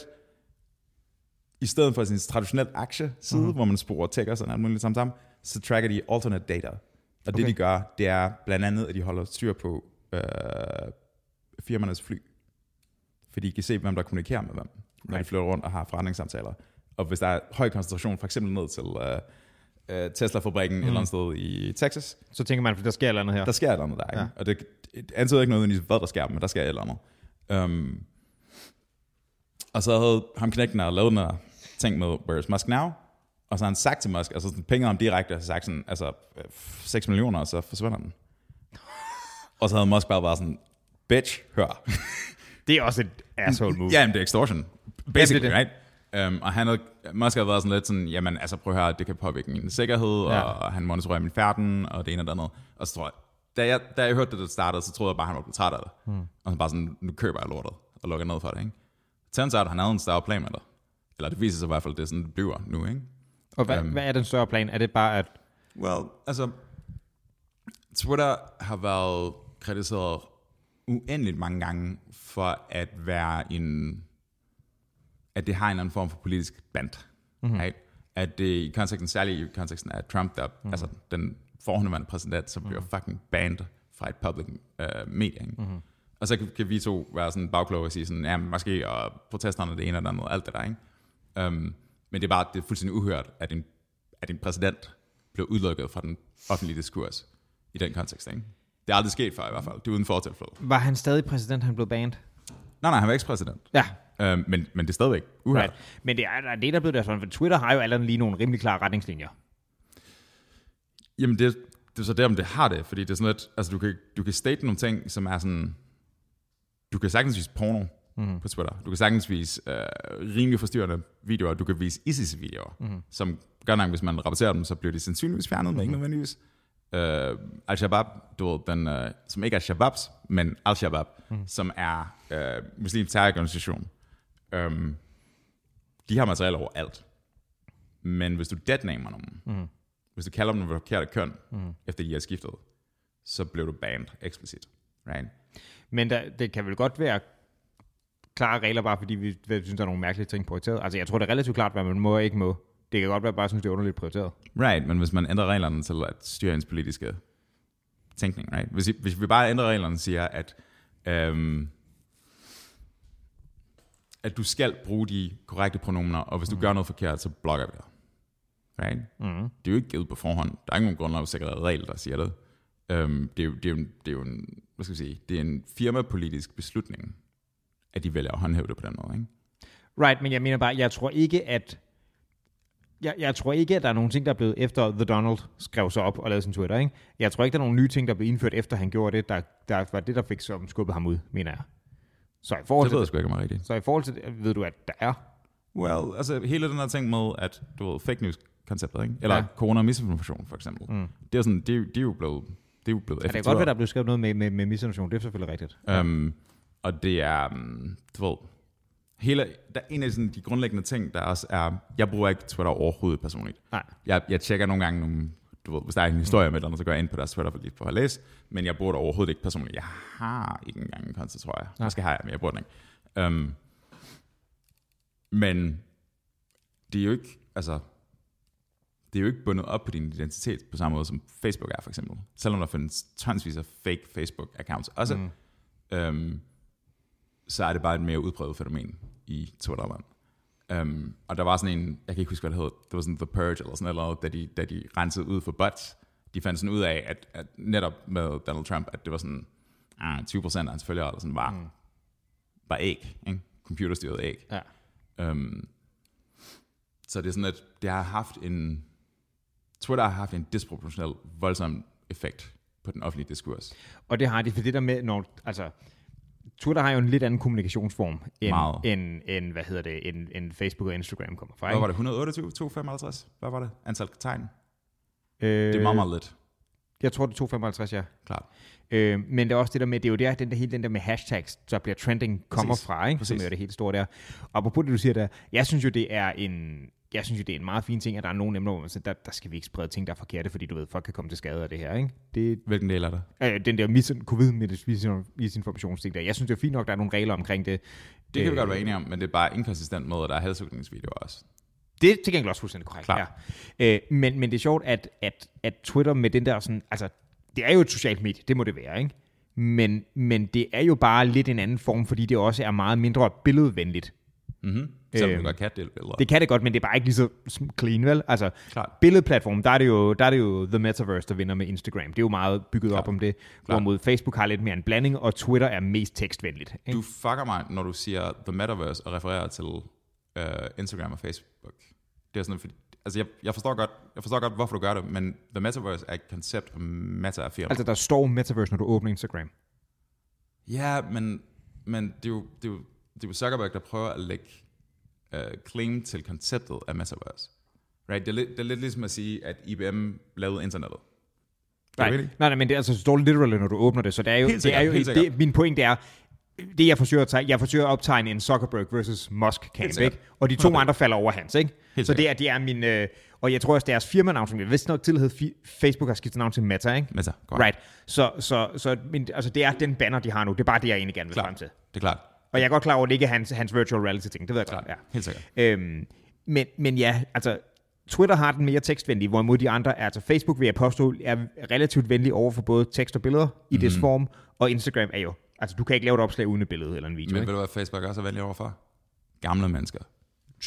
Speaker 1: I stedet for sin traditionelle aktieside,
Speaker 2: Mhm.
Speaker 1: mm-hmm. hvor man sporer tickers og alt muligt sammen, sammen, så tracker de alternate data. Og okay. det,
Speaker 2: Okay.
Speaker 1: de gør, det er blandt andet, at de holder styr på øh, firmaernes fly. Fordi I kan se, hvem der kommunikerer med hvem, når
Speaker 2: Right.
Speaker 1: de flytter rundt og har forretningssamtaler. Og hvis der er høj koncentration, for eksempel ned til øh, øh, Tesla-fabrikken mm. et eller andet sted i Texas,
Speaker 2: Så tænker man, for der sker et eller andet her.
Speaker 1: der sker et eller andet der, ikke?
Speaker 2: Ja.
Speaker 1: Ja. Og det, det antyder ikke noget, hvad der sker, men der sker et eller andet. Um, og så havde ham knægten og lavet noget ting med, where's Musk now? Og så har han sagt til Musk, altså sådan, penge om direkte, og så sagt sådan, altså øh, 6 millioner, og så forsvinder (laughs) den. og så havde Musk bare været sådan, bitch, hør.
Speaker 2: Det er også et asshole move.
Speaker 1: Ja, men det er extortion. Basically,
Speaker 2: det
Speaker 1: det det. right? Um, og han havde, Musk havde været sådan lidt sådan, jamen altså prøv at høre, det kan påvirke min sikkerhed,
Speaker 2: Ja.
Speaker 1: ja. og han monitorerer min færden, og det ene og det andet. Og så tror jeg, da jeg, da jeg hørte det, det startede, så troede jeg bare, han var blevet træt af det.
Speaker 2: Hmm.
Speaker 1: Mm. Og så bare sådan, nu køber jeg lortet, og lukker ned for det, ikke? Turns out, han havde en større plan med det. Eller det viser sig i hvert fald, at det er sådan, det bliver nu, ikke?
Speaker 2: Og hvad, hvad er den større plan? Er det bare, at
Speaker 1: Well, altså, Twitter har været kritiseret uendeligt mange gange for at være en, at det har en eller anden form for politisk band. Mm-hmm. Right? At det i konteksten, særligt i konteksten af Trump, der, mm-hmm. altså den forhåndværende præsident, som bliver fucking banned fra et public uh, media. Ikke? Mm-hmm. Og så kan, kan vi to være sådan bagkloge og sige sådan, ja, måske, og protesterne, det ene og det andet, alt det der, ikke? Um, men det er bare, det er fuldstændig uhørt, at en, at en præsident blev udelukket fra den offentlige diskurs i den kontekst, ikke? Det er aldrig sket før i hvert fald. Det er uden fortilfælde.
Speaker 2: var han stadig præsident, han blev banned?
Speaker 1: Nej, nej, han var ekspræsident.
Speaker 2: Ja,
Speaker 1: Øhm, men, men det er stadigvæk uhørt. Right.
Speaker 2: right. Men det er, der er det, der blev der sådan, for Twitter har jo allerede lige nogle rimelig klare retningslinjer.
Speaker 1: Jamen, det, er- det er så der, om det har det, fordi det er sådan lidt, altså du kan, du kan state nogle ting, som er sådan, du kan sagtens vise porno mm. på Twitter, du kan sagtens vise øh, rimelig forstyrrende videoer, du kan vise ISIS-videoer, mm. som gør nok, hvis man rapporterer dem, så bliver de sandsynligvis fjernet, mm. men ikke nødvendigvis. Øh, Al-Shabaab, du ved, den, øh, som ikke er Shababs, men Al-Shabaab, mm. som er øh, muslimsk terrororganisation, øhm, de har materiale overalt. Men hvis du deadnamer nogen, mm. hvis du kalder dem det forkerte køn, mm. efter de har skiftet, så blev du banned eksplicit. Right?
Speaker 2: Men der, det kan vel godt være klare regler, bare fordi vi, vi synes, der er nogle mærkelige ting prioriteret. Altså, jeg tror, det er relativt klart, hvad man må og ikke må. Det kan godt være, at jeg bare synes, det er underligt prioriteret.
Speaker 1: Right, men hvis man ændrer reglerne til at styre ens politiske tænkning, right? Hvis, I, hvis vi bare ændrer reglerne og siger, at, øhm, Mm. at du skal bruge de korrekte pronomener, og hvis du gør noget forkert, så blokker vi dig. Right? Mm. Det er jo ikke givet på forhånd. Der er ikke nogen grundlovssikrede regel, der siger det. Øhm, det, er jo, det, er jo, en- det er jo en, hvad skal jeg sige, det er en firmapolitisk beslutning, at de vælger at håndhæve det på den måde. Ikke?
Speaker 2: Right, men jeg mener bare, jeg tror ikke, at... Jeg, jeg tror ikke, at der er nogen ting, der er blevet efter The Donald skrev sig op og lavede sin Twitter, ikke? Jeg tror ikke, der er nogen nye ting, der er blevet indført efter han gjorde det, der, der var det, der fik som skubbet ham ud, mener jeg. Så i forhold
Speaker 1: Det
Speaker 2: til
Speaker 1: ved jeg sgu ikke, om jeg er rigtigt.
Speaker 2: Så i forhold til det, ved du, at der er...
Speaker 1: Well, altså hele den her ting med, at du ved, fake news-konceptet, ikke? eller
Speaker 2: Ja.
Speaker 1: ja. corona og misinformation for eksempel. Mm. Det er sådan, det, er- det er jo blevet, det er jo blevet
Speaker 2: Ja, det kan godt være, der er blevet skrevet noget med, med, med misinformation. Det er selvfølgelig rigtigt.
Speaker 1: Um, og det er, um, du ved, hele, der er en af sådan, de grundlæggende ting, der også er, jeg bruger ikke Twitter overhovedet personligt.
Speaker 2: Nej.
Speaker 1: Jeg, jeg tjekker nogle gange nogle, du ved, hvis der er en historie mm. med et eller andet, så går jeg ind på deres Twitter for lige for at læse, men jeg bruger det overhovedet ikke personligt. Jeg har ikke engang en konto, tror jeg. Nej. Måske har jeg, men jeg bruger den ikke. Um, men det er jo ikke, altså, det er jo ikke bundet op på din identitet på samme måde som Facebook er for eksempel. Selvom der findes tonsvis af fake Facebook-accounts
Speaker 2: Altså-
Speaker 1: også, mm. øhm, så er det bare et mere udbredt fænomen i Twitterland. Um, og der var sådan en, jeg kan ikke huske, hvad det hed, det var sådan The Purge eller sådan noget, da de, da de rensede ud for bots. De fandt sådan ud af, at, at netop med Donald Trump, at det var sådan, ah, 20% af hans følgere eller sådan, var, mm. var æg, ikke? computerstyret æg.
Speaker 2: Ja.
Speaker 1: Um, så det er sådan, at det har haft en... Twitter har haft en disproportionel, voldsom effekt på den offentlige diskurs.
Speaker 2: Og det har de, for det der med, når, altså, Twitter har jo en lidt anden kommunikationsform, end,
Speaker 1: Meget.
Speaker 2: end, end hvad hedder det, end, end Facebook og Instagram kommer fra.
Speaker 1: Hvad var det? 128? 255? Hvad var det? Antal tegn?
Speaker 2: det? Øh,
Speaker 1: Det er meget, meget lidt.
Speaker 2: Jeg tror, det er 255, ja.
Speaker 1: Klart.
Speaker 2: Øh, men det er også det der med, det er jo der, den der, hele den der med hashtags, der bliver trending, kommer
Speaker 1: Præcis.
Speaker 2: fra, ikke? Præcis. som
Speaker 1: Præcis.
Speaker 2: er jo det helt store der. Og apropos det, du siger der, jeg synes jo, det er en... Jeg synes jo, det er en meget fin ting, at der er nogle emner, hvor man siger, der, der skal vi ikke sprede ting, der er forkerte, fordi du ved, folk kan komme til skade af det her. Ikke? Det,
Speaker 1: Hvilken del er det?
Speaker 2: øh, den der mis- covid-misinformationsting der. Jeg synes, det er fint nok, der er nogle regler omkring det.
Speaker 1: Det
Speaker 2: Øh.
Speaker 1: kan vi godt være enige om, men det er bare inkonsistent med, at der er halshugningsvideoer også.
Speaker 2: Det er til gengæld også fuldstændig korrekt.
Speaker 1: Klar.
Speaker 2: Ja. Øh, men, men det er sjovt, at, at, at Twitter med den der sådan... Altså, det er jo et socialt medie, det må det være, ikke? Men, men det er jo bare lidt en anden form, fordi det også er meget mindre billedvenligt.
Speaker 1: Mm-hmm. Selvom
Speaker 2: Øhm,
Speaker 1: du godt kan dele billeder.
Speaker 2: Det kan det godt, men det er bare ikke lige så clean, vel? Altså,
Speaker 1: Klart.
Speaker 2: billedplatformen, der er, det jo, der er det jo The Metaverse, der vinder med Instagram. Det er jo meget bygget Klart. op om det. Hvorimod Facebook har lidt mere en blanding, og Twitter er mest tekstvenligt. Ikke?
Speaker 1: Du fucker mig, når du siger The Metaverse og refererer til øh, Instagram og Facebook. Det er sådan, fordi, altså jeg, jeg, forstår godt, jeg forstår godt, hvorfor du gør det, men The Metaverse er et koncept, og Meta er firma.
Speaker 2: Altså, der står Metaverse, når du åbner Instagram.
Speaker 1: Ja, men, men det, er jo, det, er jo, det er jo Zuckerberg, der prøver at lægge uh, claim til konceptet af Metaverse. Right? Det, er lidt, det er lidt ligesom at sige, at IBM lavede internettet. Er
Speaker 2: Nej,
Speaker 1: du
Speaker 2: nej,
Speaker 1: enig?
Speaker 2: nej, men det er altså, det står literally, når du åbner det, så det er jo,
Speaker 1: Helt
Speaker 2: det er
Speaker 1: sikkert,
Speaker 2: jo
Speaker 1: helt
Speaker 2: det,
Speaker 1: sikkert.
Speaker 2: min pointe er, det jeg forsøger at tegne, jeg forsøger at optegne en Zuckerberg versus Musk camp,
Speaker 1: sikkert.
Speaker 2: ikke? Og de to andre falder over hans, ikke?
Speaker 1: Helt
Speaker 2: så det er, det er min, øh, og jeg tror også, deres firmanavn, som jeg vidste nok til, hed fi- Facebook har skiftet navn til Meta, ikke?
Speaker 1: Meta, godt.
Speaker 2: Right. Så, så, så men, altså, det er den banner, de har nu. Det er bare det, jeg egentlig gerne vil frem
Speaker 1: Klart.
Speaker 2: til.
Speaker 1: Det er klart.
Speaker 2: Og jeg er godt klar over, at det ikke er hans, hans virtual reality ting. Det ved jeg
Speaker 1: klart.
Speaker 2: godt. Ja.
Speaker 1: Helt sikkert.
Speaker 2: Øhm, men, men ja, altså Twitter har den mere tekstvenlige, hvorimod de andre er, altså Facebook vil jeg påstå, er relativt venlig over for både tekst og billeder i mm. dets form, og Instagram er jo, altså du kan ikke lave et opslag uden et billede eller en video.
Speaker 1: Men
Speaker 2: ikke?
Speaker 1: ved du, hvad Facebook også er venlig overfor? Gamle mennesker.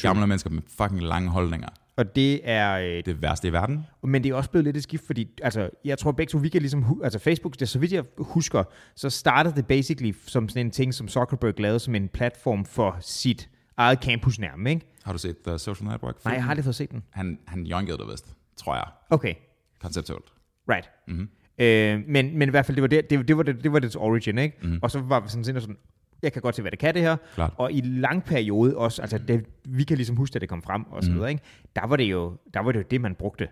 Speaker 1: Gamle mennesker med fucking lange holdninger.
Speaker 2: Og det er, øh,
Speaker 1: Det er det værste i verden.
Speaker 2: men det er også blevet lidt et skift, fordi altså, jeg tror begge to, vi kan ligesom, hu- altså Facebook, det, så vidt jeg husker, så startede det basically som sådan en ting, som Zuckerberg lavede som en platform for sit eget campus nærmest, ikke?
Speaker 1: Har du set The Social Network?
Speaker 2: Nej, jeg har aldrig fået set den.
Speaker 1: Han, han jonkede det vist, tror jeg.
Speaker 2: Okay,
Speaker 1: Konceptuelt.
Speaker 2: Right. Mm-hmm. Øh, men, men i hvert fald, det var, det, det, det, var, det, det var dets origin, ikke? Mm-hmm. Og så var vi sådan set sådan, jeg kan godt se, hvad det kan det her.
Speaker 1: Klart.
Speaker 2: Og i lang periode også, altså det, vi kan ligesom huske, at det kom frem og så videre, ikke? Der var det jo, der var det jo det, man brugte.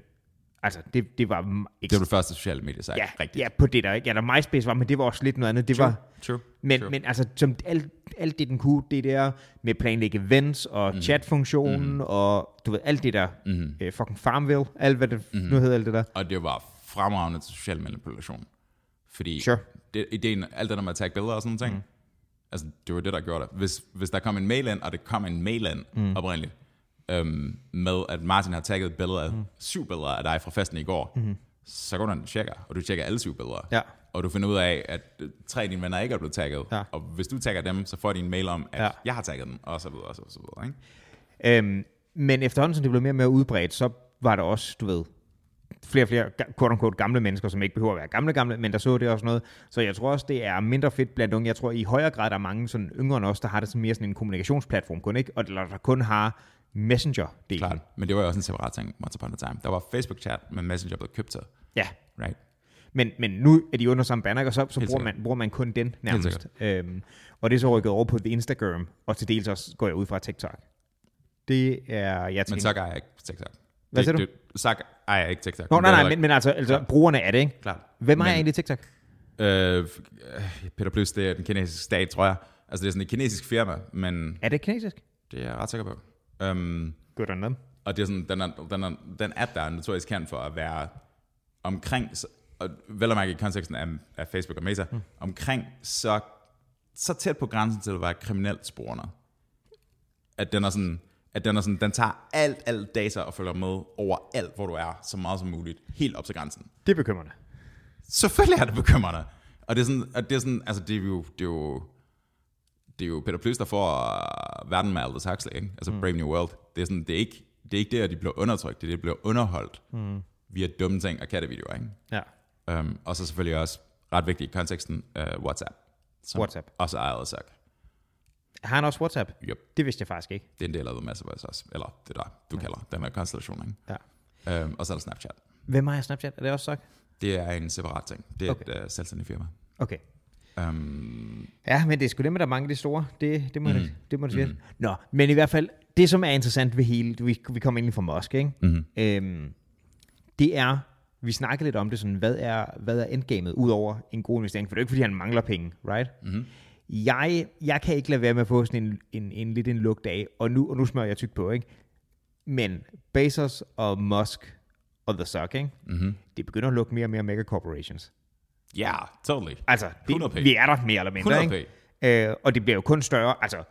Speaker 2: Altså, det, det var... m-
Speaker 1: Det var det første sociale medie, så
Speaker 2: ja,
Speaker 1: rigtigt.
Speaker 2: ja, på det der, ikke? Ja, der MySpace var, men det var også lidt noget andet. Det var...
Speaker 1: True.
Speaker 2: Men,
Speaker 1: True.
Speaker 2: men altså, som alt, alt det, den kunne, det der med planlægge events og mm. Mm-hmm. chatfunktionen og du ved, alt det der, mm. øh, fucking Farmville, alt hvad det mm. nu hedder, alt det der.
Speaker 1: Og det var fremragende til social manipulation. Fordi
Speaker 2: Sure.
Speaker 1: det, ideen, alt det der med at tage billeder og sådan noget, mm. altså det var det, der gjorde det. Hvis, hvis der kom en mail ind, og det kom en mail ind mm. oprindeligt, øhm, med at Martin har tagget billeder, mm. syv billeder af dig fra festen i går, mm. så går du ind og tjekker, og du tjekker alle syv billeder.
Speaker 2: Ja.
Speaker 1: Og du finder ud af, at øh, tre af dine venner ikke er blevet tagget.
Speaker 2: Ja.
Speaker 1: Og hvis du tagger dem, så får de en mail om, at
Speaker 2: Ja.
Speaker 1: ja. jeg har tagget dem, og så videre, og så, og så videre. Ikke?
Speaker 2: Øhm, men efterhånden, som det blev mere og mere udbredt, så var der også, du ved, flere og flere quote unquote, gamle mennesker, som ikke behøver at være gamle gamle, men der så det også noget. Så jeg tror også, det er mindre fedt blandt unge. Jeg tror i højere grad, der er mange sådan yngre end os, der har det som mere sådan en kommunikationsplatform kun, ikke? Og eller der kun har Messenger-delen.
Speaker 1: Klart. Men det var jo også en separat ting, once upon a time. Der var Facebook-chat, men Messenger blev købt til.
Speaker 2: Ja,
Speaker 1: Right?
Speaker 2: men, men nu er de under samme banner, og så, så
Speaker 1: Helt
Speaker 2: bruger,
Speaker 1: sikkert.
Speaker 2: man, bruger man kun den nærmest. Øhm, og det er så rykket over på The Instagram, og til dels også går jeg ud fra TikTok. Det er, jeg tænker...
Speaker 1: Men så ejer jeg ikke TikTok.
Speaker 2: Hvad siger
Speaker 1: Det- det- Zuck ejer ikke TikTok.
Speaker 2: Nå,
Speaker 1: Men
Speaker 2: nej,
Speaker 1: det er
Speaker 2: nej, men,
Speaker 1: heller
Speaker 2: men altså, altså brugerne er det, ikke?
Speaker 1: ikke- Klart.
Speaker 2: Hvem er
Speaker 1: Men-
Speaker 2: egentlig TikTok?
Speaker 1: Øh, f- øh, Peter Plus, det er den kinesiske stat, tror jeg. Altså, det er sådan et kinesisk firma, men
Speaker 2: Er det kinesisk?
Speaker 1: det er jeg ret sikker på. Um,
Speaker 2: Godt on them.
Speaker 1: og det er sådan, den, er, den, er, den app, der er notorisk kendt for at være omkring, s- og vel og mærke i konteksten af, af Facebook og Meta, mm. omkring så, så tæt på grænsen til at være kriminelt sporende. At den er sådan, at den, er sådan, den tager alt, alt data og følger med over alt, hvor du er, så meget som muligt, helt op til grænsen.
Speaker 2: Det er bekymrende.
Speaker 1: Selvfølgelig er det bekymrende. Og det er sådan, og det er sådan altså det er jo, det er jo, det er jo Peter Plys, der får øh, verden med Aldous Huxley, ikke? altså mm. Brave New World. Det er, sådan, det, er ikke, det er ikke det, at de bliver undertrykt, det er det, at de bliver underholdt mm. via dumme ting og kattevideoer. Ikke?
Speaker 2: Ja.
Speaker 1: Um, og så selvfølgelig også ret vigtigt i konteksten, uh, WhatsApp. Som
Speaker 2: WhatsApp.
Speaker 1: Også er Aldous Huxley.
Speaker 2: Har han også WhatsApp?
Speaker 1: Yep.
Speaker 2: Det vidste jeg faktisk ikke.
Speaker 1: Det er en del af The Massive også, eller det der, du ja. kalder den her konstellation.
Speaker 2: Ja.
Speaker 1: Ikke? Um, og så er der Snapchat.
Speaker 2: Hvem har Snapchat? Er det også sagt?
Speaker 1: Det er en separat ting. Det er okay.
Speaker 2: Okay.
Speaker 1: et uh, selvstændigt firma.
Speaker 2: Okay.
Speaker 1: Um,
Speaker 2: Ja, men det er sgu dem, der mangler de store. Det, det må mm. det, det, må det sige. Nå, men i hvert fald, det som er interessant ved hele, vi, vi kommer egentlig fra Musk, ikke? Mm. Øhm, det er, vi snakkede lidt om det sådan, hvad er, hvad er endgamet, udover en god investering? For det er jo ikke, fordi han mangler penge, right? Mm. Jeg, jeg kan ikke lade være med at få sådan en, en, en lidt en lugt af, og nu, og nu smører jeg tyk på, ikke? Men Bezos og Musk og The Suck, ikke? Mm-hmm. det begynder at lukke mere og mere mega corporations.
Speaker 1: yeah, totally.
Speaker 2: Altså, det,
Speaker 1: 100p.
Speaker 2: vi er der mere eller mindre,
Speaker 1: 100p.
Speaker 2: ikke? Øh, og det bliver jo kun større. Altså,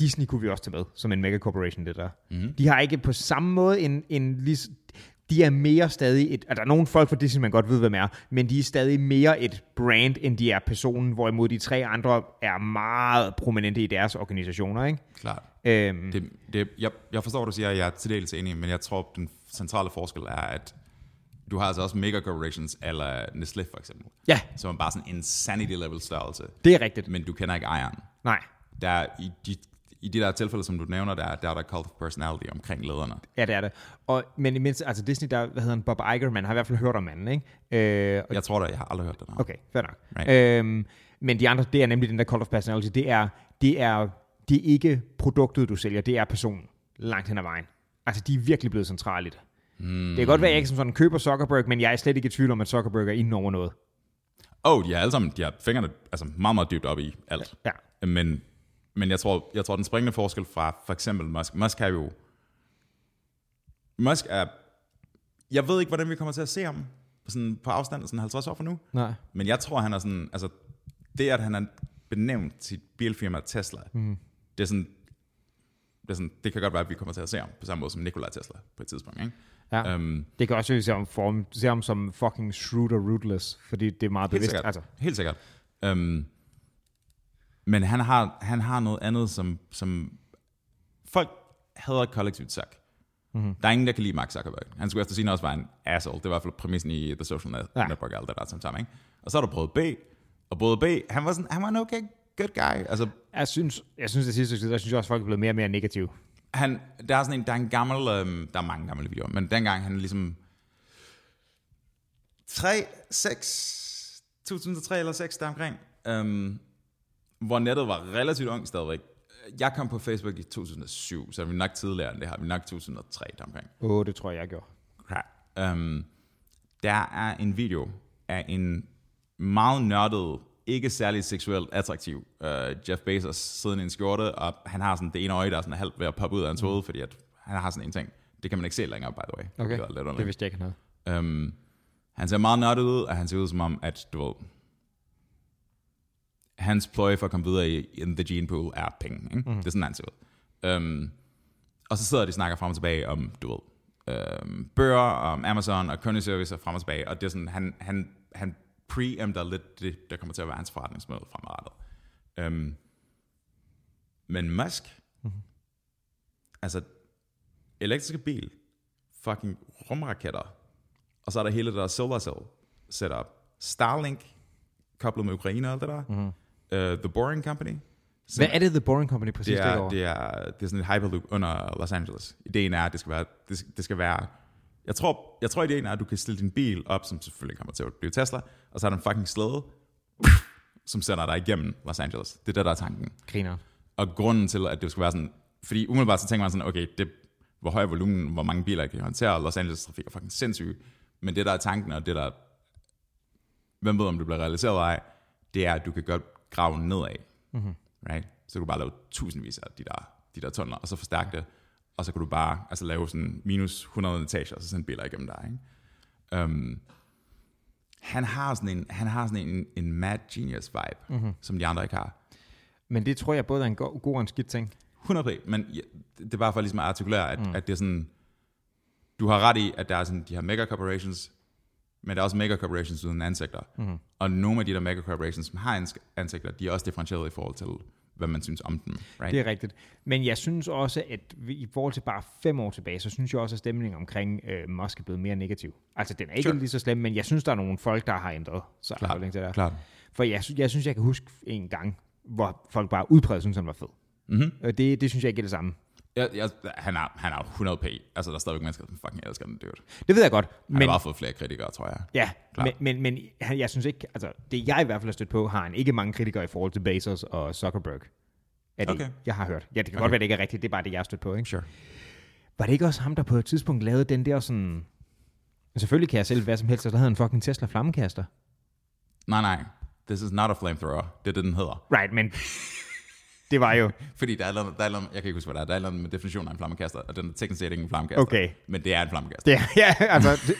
Speaker 2: Disney kunne vi også tage med, som en mega corporation, det der. Mm. De har ikke på samme måde en, en lige, de er mere stadig et, og der er nogle folk fra Disney, man godt ved, hvem er, men de er stadig mere et brand, end de er personen, hvorimod de tre andre er meget prominente i deres organisationer, ikke?
Speaker 1: Klart.
Speaker 2: Øhm,
Speaker 1: Det, det, jeg, jeg forstår, du siger, at jeg er til dels enig, men jeg tror, den centrale forskel er, at du har altså også mega corporations, eller Nestlé for eksempel,
Speaker 2: ja,
Speaker 1: som er bare sådan en insanity level størrelse,
Speaker 2: det er rigtigt.
Speaker 1: men du kender ikke ejeren.
Speaker 2: Nej,
Speaker 1: Der er, i, de, I de der tilfælde, som du nævner, der, er- der er der cult of personality omkring lederne.
Speaker 2: ja, det er det. Og, men imens, altså Disney, der, hvad hedder han, Bob Iger, man har i hvert fald hørt om manden, ikke? Øh, og
Speaker 1: Jeg tror da, jeg har aldrig hørt det der.
Speaker 2: Okay, fair nok.
Speaker 1: Right.
Speaker 2: Øhm, men de andre, det er nemlig den der cult of personality, det er, det er, det er ikke produktet, du sælger, det er personen langt hen ad vejen. Altså, de er virkelig blevet centrale i det.
Speaker 1: Hmm.
Speaker 2: Mm. Det kan godt være, at jeg ikke som sådan køber Zuckerberg, men jeg er slet ikke i tvivl om, at Zuckerberg er inde over noget.
Speaker 1: Oh, de har alle sammen, de har fingrene altså meget, meget dybt op i alt.
Speaker 2: Ja.
Speaker 1: Men, men jeg, tror, jeg tror, den springende forskel fra for eksempel Musk, Musk har jo... Musk er... Jeg ved ikke, hvordan vi kommer til at se ham sådan på afstand af sådan 50 år fra nu,
Speaker 2: Nej.
Speaker 1: men jeg tror, han er sådan... Altså, det, at han er benævnt sit bilfirma Tesla, mm. det er sådan... Det, er sådan, det kan godt være, at vi kommer til at se ham på samme måde som Nikola Tesla på et tidspunkt. Ikke?
Speaker 2: Ja. Um,
Speaker 1: Øhm,
Speaker 2: det kan også se ham, form, se ham som fucking shrewd og rootless, fordi det er meget
Speaker 1: Helt
Speaker 2: bevidst.
Speaker 1: sikkert.
Speaker 2: Altså,
Speaker 1: Helt sikkert. Øhm, men han har, han har noget andet, som, som folk hader kollektivt sagt.
Speaker 2: Mhm.
Speaker 1: Mm-hmm. Der er ingen, der kan lide Mark Zuckerberg. Han skulle efter sin også være en asshole. Det var i hvert fald præmissen i The Social Net-
Speaker 2: Ja.
Speaker 1: Network og alt det der sammen. Ikke? Og så har du prøvet B, og både B, han var, sådan, han var en okay good guy. Altså,
Speaker 2: jeg synes, jeg synes, det sidste stykke tid, der synes jeg også, folk er blevet mere og mere negative.
Speaker 1: han, der er sådan en, der er en gammel, øhm, der er mange gamle videoer, men dengang han ligesom 3, 6, 2003 eller 6 deromkring, øhm, hvor nettet var relativt ung stadigvæk. Jeg kom på Facebook i 2007, så er vi nok tidligere end det her, vi er nok 2003 deromkring.
Speaker 2: Åh, oh, det tror jeg, jeg gjorde.
Speaker 1: Okay. Um, der er en video af en meget nørdet, ikke særlig seksuelt attraktiv uh, Jeff Bezos siddende i en skjorte, og han har sådan det ene øje, der er sådan halvt ved at poppe ud af hans hoved, fordi at han har sådan en ting. Det kan man ikke se længere, by the way.
Speaker 2: Okay,
Speaker 1: Det, er lidt
Speaker 2: det
Speaker 1: underligt.
Speaker 2: vidste jeg ikke, han havde.
Speaker 1: Øhm, han ser meget nørdet ud, og han ser ud som om, at du ved, hans pløje for at komme videre i in the gene pool er penge. Ikke? Mm. Det er sådan, han ser ud. Øhm, og så sidder de og snakker frem og tilbage om, du ved, øhm, bøger, om Amazon og kundeservice og frem og tilbage, og det er sådan, han, han, han preempter lidt det, der kommer til at være hans forretningsmål fremadrettet. Øhm, men Musk, mm-hmm. altså elektriske bil, fucking rumraketter. Og så er der hele det der solar cell setup. Starlink, koblet med Ukraine og alt det der. Mm-hmm. Uh, The Boring Company.
Speaker 2: Hvad er det, The Boring Company præcis
Speaker 1: Det
Speaker 2: det
Speaker 1: er,
Speaker 2: år?
Speaker 1: det, er, det er sådan et hyperloop under Los Angeles. Ideen er, at det skal være... Det skal, det skal være jeg tror, jeg tror ideen er, at du kan stille din bil op, som selvfølgelig kommer til at blive Tesla, og så er der en fucking slæde, som sender dig igennem Los Angeles. Det er det, der er tanken.
Speaker 2: Griner.
Speaker 1: Og grunden til, at det skulle være sådan... Fordi umiddelbart så tænker man sådan, okay, det, hvor høj er volumen, hvor mange biler kan I håndtere, Los Angeles trafik er fucking sindssyg. Men det, der er tanken, og det, der... Hvem ved, om det bliver realiseret eller ej, det er, at du kan godt grave nedad. Mm-hmm. Right? Så kan du bare lave tusindvis af de der, de der tunneler, og så forstærke det. Og så kan du bare altså, lave sådan minus 100 etager, og så sende biler igennem dig. Ikke? Um, han har sådan en, han har sådan en, en mad genius vibe, mm-hmm. som de andre ikke har.
Speaker 2: Men det tror jeg både er en go- god og en skidt ting.
Speaker 1: 100 men ja, det er bare for ligesom at artikulere, at, mm. at det er sådan, du har ret i, at der er sådan de her mega corporations, men der er også mega corporations uden ansigter. Mm.
Speaker 2: Mm-hmm.
Speaker 1: Og nogle af de der mega corporations, som har ans- ansigter, de er også differentieret i forhold til, hvad man synes om dem. Right?
Speaker 2: Det er rigtigt. Men jeg synes også, at vi, i forhold til bare fem år tilbage, så synes jeg også, at stemningen omkring øh, Musk er blevet mere negativ. Altså, den er ikke
Speaker 1: Sure.
Speaker 2: sure. lige så slem, men jeg synes, der er nogle folk, der har ændret sig.
Speaker 1: Klart,
Speaker 2: holdning til det. her.
Speaker 1: klart.
Speaker 2: For jeg, sy- jeg synes, jeg kan huske en gang, hvor folk bare udpræget synes, han var fed.
Speaker 1: Mhm.
Speaker 2: Og det, det synes jeg ikke er det samme.
Speaker 1: Jeg, jeg, han, er, han er 100 p. Altså, der er stadigvæk mennesker, som fucking elsker den dude. Han
Speaker 2: Det ved jeg godt.
Speaker 1: har
Speaker 2: Men,
Speaker 1: bare fået flere kritikere, tror jeg.
Speaker 2: ja,
Speaker 1: Klar.
Speaker 2: men, men, men han- jeg synes ikke, altså det jeg i hvert fald har stødt på, har han ikke mange kritikere i forhold til Bezos og Zuckerberg. Er det,
Speaker 1: Okay.
Speaker 2: jeg har hørt. Ja, det kan okay. godt være, det ikke er rigtigt. Det er bare det, jeg har stødt på. Ikke?
Speaker 1: Sure.
Speaker 2: Var det ikke også ham, der på et tidspunkt lavede den der sådan... Selvfølgelig kan jeg selv hvad som helst, og der havde han fucking Tesla flammekaster.
Speaker 1: Nej, nej. This is not a flamethrower. Det er det, den hedder.
Speaker 2: Right, men det var jo...
Speaker 1: Fordi der er, et eller andet, der er et eller andet, jeg kan ikke huske, hvad der er, der er et eller andet med definitionen af en flammekaster, og den er teknisk set ikke en flammekaster.
Speaker 2: Okay.
Speaker 1: Men det er en flammekaster.
Speaker 2: Det, (laughs) ja, altså, det,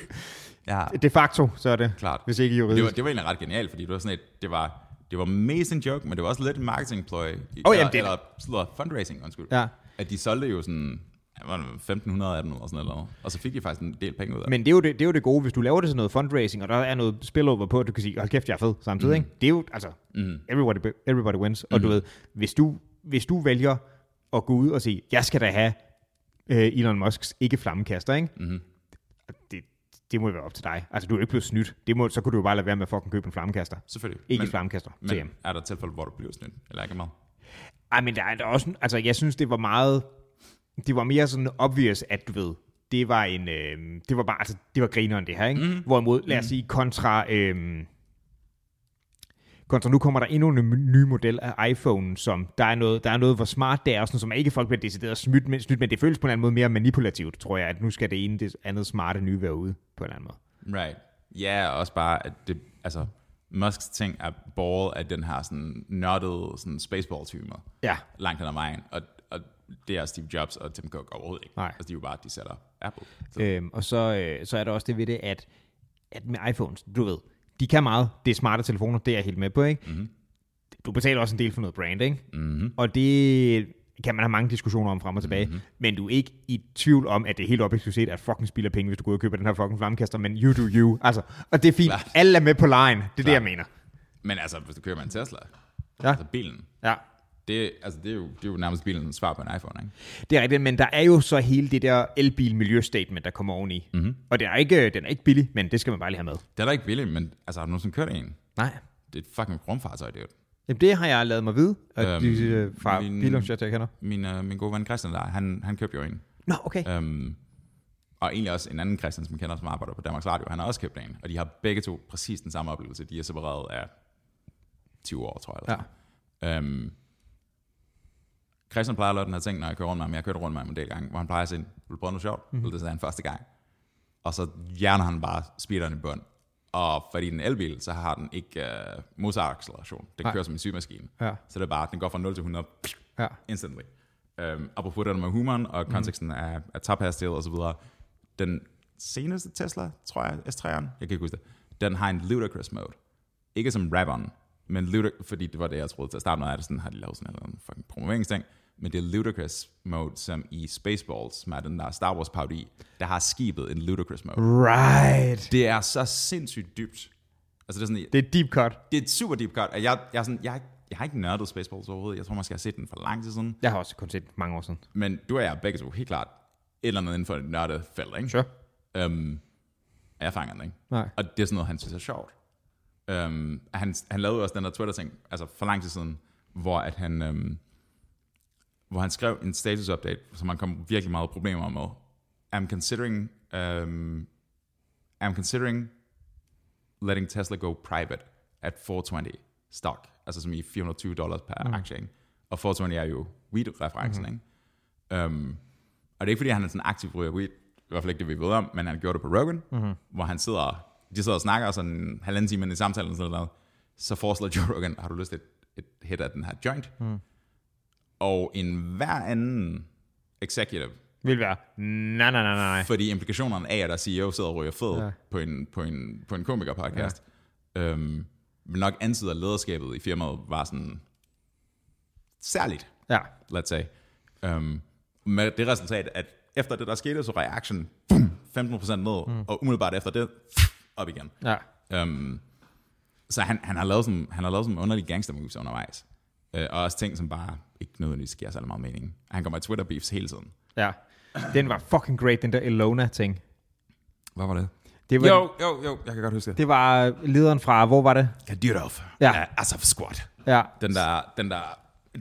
Speaker 1: Ja,
Speaker 2: de facto, så er det.
Speaker 1: klart.
Speaker 2: Hvis ikke
Speaker 1: Det var,
Speaker 2: juridisk.
Speaker 1: det var egentlig ret genialt, fordi det var sådan et, det var, det var mest en joke, men det var også lidt en marketingpløj. Oh,
Speaker 2: jamen,
Speaker 1: eller,
Speaker 2: det-
Speaker 1: eller slår fundraising, undskyld.
Speaker 2: Ja.
Speaker 1: At de solgte jo sådan, ja, hvad var det, 1500 af dem eller sådan noget, og så fik de faktisk en del penge ud af det.
Speaker 2: Men det er, jo det, det er jo det gode, hvis du laver det sådan noget fundraising, og der er noget spillover på, at du kan sige, hold kæft, jeg er fed samtidig. Mm. Ikke? Det er jo, altså, mm. everybody, everybody wins. Mm. Og du ved, hvis du, hvis du vælger at gå ud og sige, jeg skal da have øh, Elon Musks ikke-flammekaster, ikke? Mm. Det, det må jo være op til dig. Altså, du er jo ikke blevet snydt. Det må, så kunne du jo bare lade være med at fucking købe en flammekaster.
Speaker 1: Selvfølgelig.
Speaker 2: Ikke
Speaker 1: men,
Speaker 2: men, flammekaster til hjem.
Speaker 1: men er der tilfælde, hvor du bliver snydt? Eller ikke meget?
Speaker 2: Ej, men der er der også, altså jeg synes, det var meget, det var mere sådan obvious, at du ved, det var en, øh, det var bare, altså det var grineren det her, ikke? Mm. Hvorimod, lad os sige, kontra, øh, kontra nu kommer der endnu en m- ny model af iPhone, som der er noget, der er noget hvor smart det er, og sådan, som ikke folk bliver decideret snydt, men, snydt, men det føles på en eller anden måde mere manipulativt, tror jeg, at nu skal det ene det andet smarte nye være ude, på en eller anden måde.
Speaker 1: Right. Ja, og også bare, at det, altså, Musks ting er ball af den her sådan nørdede sådan spaceball-tymer.
Speaker 2: Ja.
Speaker 1: Langt hen ad vejen. Og, og det er Steve Jobs og Tim Cook overhovedet ikke.
Speaker 2: Nej.
Speaker 1: Altså, de er jo bare, de sætter Apple. Så,
Speaker 2: Øhm, og så, øh, så er der også det ved det, at, at med iPhones, du ved, de kan meget. Det er smarte telefoner, det er jeg helt med på, ikke? Mm-hmm. Du betaler også en del for noget brand, ikke? Mm-hmm. Og det kan man have mange diskussioner om frem og tilbage, mm-hmm. men du er ikke i tvivl om, at det er helt objektivt set, at fucking spilder penge, hvis du går ud og køber den her fucking flammekaster, men you do you. Altså, og det er fint. Klar. Alle er med på line. Det er Klar. det, jeg mener.
Speaker 1: men altså, hvis du køber en Tesla,
Speaker 2: Ja.
Speaker 1: altså bilen,
Speaker 2: Ja.
Speaker 1: det, altså, det, er jo, det er jo nærmest bilens svar på en iPhone, ikke?
Speaker 2: Det er rigtigt, men der er jo så hele det der elbil-miljøstatement, der kommer oveni. Mm-hmm. Og det er ikke, den er ikke billig, men det skal man bare lige have med.
Speaker 1: Det er da ikke billigt, men altså, har du nogensinde kørt i en?
Speaker 2: Nej,
Speaker 1: Det er et fucking rumfartøj, det er jo.
Speaker 2: Jamen, det har jeg lavet mig vide, at
Speaker 1: Øhm,
Speaker 2: øhm, de, øh, fra
Speaker 1: min-
Speaker 2: min... bilumchat, jeg kender.
Speaker 1: Min, øh, min gode ven Christian der, han, han købte jo en.
Speaker 2: Nå, okay. Øh.
Speaker 1: Øhm, og egentlig også en anden Christian, som jeg kender, som arbejder på Danmarks Radio, han har også købt en, og de har begge to præcis den samme oplevelse. De er separeret af 20 år, tror jeg. Ja. Øhm, Christian plejer at lave den her ting, når jeg kører rundt med ham. Jeg har kørt rundt med ham en del gange, hvor han plejer at sige, vil du prøve noget sjovt?
Speaker 2: Mhm.
Speaker 1: Mm-hmm. Det sagde han første gang. Og så hjerner han bare speederen i bund. Og fordi den er en elbil, så har den ikke øh, motoracceleration. Den
Speaker 2: Nej.
Speaker 1: kører som en sygemaskine.
Speaker 2: Ja.
Speaker 1: Så det er bare, den går fra 0 til 100
Speaker 2: Ja.
Speaker 1: instantly. Um, apropos det der med humoren og konteksten mm. af, af tophastighed og så videre. Den seneste Tesla, tror jeg, S3'eren, jeg kan ikke huske det, den har en ludicrous mode. Ikke som rap-on, men ludic- fordi det var det, jeg troede til at starte med, at sådan har de lavet sådan en eller anden fucking promoveringsting, men det er ludicrous mode, som i Spaceballs, som er den der Star Wars parodi, der har skibet en ludicrous mode.
Speaker 2: Right.
Speaker 1: Det er så sindssygt dybt. Altså det er sådan,
Speaker 2: Det er et deep cut.
Speaker 1: det er et super deep cut, og jeg, jeg, er sådan, jeg, har ikke- jeg har ikke nørdet Spaceballs overhovedet. Jeg tror, man skal have set den for lang tid siden.
Speaker 2: Jeg har også kun set mange år siden.
Speaker 1: Men du og jeg er begge to helt klart eller andet inden for et nørdet felt, ikke?
Speaker 2: Sure.
Speaker 1: Øhm, og jeg fanger den, ikke?
Speaker 2: Nej.
Speaker 1: Og det er sådan noget, han synes er sjovt. Øhm, han, han lavede også den der Twitter-ting, altså for lang tid siden, hvor at han, øhm, hvor han skrev en status-update, som han kom virkelig meget problemer med. I'm considering, øhm, I'm considering letting Tesla go private at 420 stock, altså som i 420 dollars per mm. aktie, ikke? Og 420 er jo weed-referencen, mm. ikke? Øhm, og det er ikke, fordi han er sådan aktiv ryger weed, i hvert fald ikke det, vi ved om, men han gjorde det på Rogan,
Speaker 2: Mhm.
Speaker 1: mm-hmm. hvor han sidder, de sidder og snakker, og sådan en halvanden time ind i samtalen, sådan noget, så foreslår Joe Rogan, har du lyst til et, et hit af den her joint?
Speaker 2: Mhm.
Speaker 1: Mm. Og en hver anden executive,
Speaker 2: Vil være, nej, nej, nej, nej.
Speaker 1: fordi implikationerne af, at der CEO sidder og ryger fed
Speaker 2: Ja.
Speaker 1: ja. på, en, på, en, på en komikerpodcast, ja. øhm, vil nok antyder lederskabet i firmaet var sådan særligt
Speaker 2: Ja.
Speaker 1: let's say. Um, med det resultat, at efter det, der skete, så reaction boom, 15% ned, mm. og umiddelbart efter det, op igen.
Speaker 2: Ja.
Speaker 1: Um, så han, han, har lavet sådan, han har lavet sådan underlige gangster moves undervejs. Uh, og også ting, som bare ikke nødvendigvis giver særlig meget mening. Han kommer i Twitter beefs hele tiden.
Speaker 2: Ja. Den var fucking great, den der Elona-ting.
Speaker 1: Hvad var det?
Speaker 2: Det var,
Speaker 1: Jo, jo, jo, jeg kan godt huske det.
Speaker 2: det var lederen fra, hvor var det?
Speaker 1: Kadyrov.
Speaker 2: Ja.
Speaker 1: Uh, Asaf Squad.
Speaker 2: Ja.
Speaker 1: Den der, den der,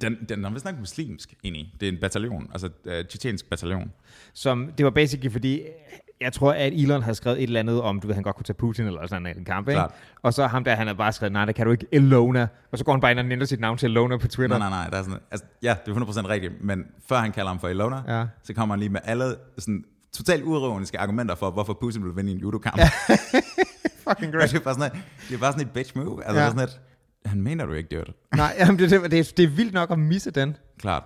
Speaker 1: den, den er vist nok muslimsk, egentlig. Det er en bataljon, altså uh, tjetjensk bataljon.
Speaker 2: Som, det var basically fordi, jeg tror, at Elon havde skrevet et eller andet om, du ved, han godt kunne tage Putin eller sådan noget i en kamp, ikke?
Speaker 1: Klart.
Speaker 2: Og så ham der, han havde bare skrevet, nej, det kan du ikke, Elona. Og så går han bare ind og ændrer sit navn til Elona på Twitter.
Speaker 1: Nej, nej, nej. Der er sådan, altså, ja, det er 100% rigtigt, men før han kalder ham for Elona,
Speaker 2: Ja.
Speaker 1: ja. så kommer han lige med alle sådan, totalt uroniske argumenter for, hvorfor Putin vil vinde i en judokamp. Ja.
Speaker 2: (laughs) Fucking
Speaker 1: det, er bare sådan, et, det er bare sådan et bitch move. Altså,
Speaker 2: Ja.
Speaker 1: ja. sådan et, han mener du ikke, det
Speaker 2: (laughs) nej, jamen, det, det, det, det, er vildt nok at misse den.
Speaker 1: Klart.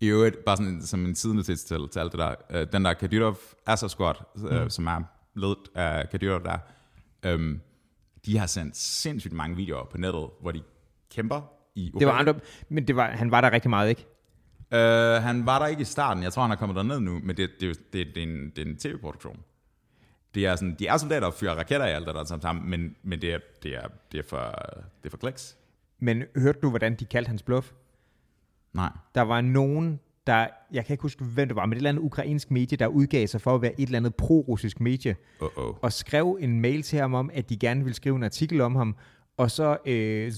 Speaker 1: I øvrigt, bare sådan en- som en sidenotis til, til alt det der. Øh, den der Kadyrov Assad Squad, øh,
Speaker 2: Mm.
Speaker 1: som er ledet af Kadyrov der, øh, de har sendt sindssygt mange videoer på nettet, hvor de kæmper i
Speaker 2: Det var andre, men det var, han var der rigtig meget, ikke?
Speaker 1: Øh, han var der ikke i starten. Jeg tror, han er kommet derned nu, men det, det, er jo- det, det, er, en, det er en tv-produktion. Det er sådan, de er soldater og fyrer raketter og alt det der sammen, sammen men, men det, er, det, er, det, er for, det er for kliks.
Speaker 2: Men hørte du, hvordan de kaldte hans bluff?
Speaker 1: Nej.
Speaker 2: Der var nogen, der, jeg kan ikke huske, hvem det var, men et eller andet ukrainsk medie, der udgav sig for at være et eller andet pro-russisk medie,
Speaker 1: Uh-oh.
Speaker 2: og skrev en mail til ham om, at de gerne ville skrive en artikel om ham, og så, øh,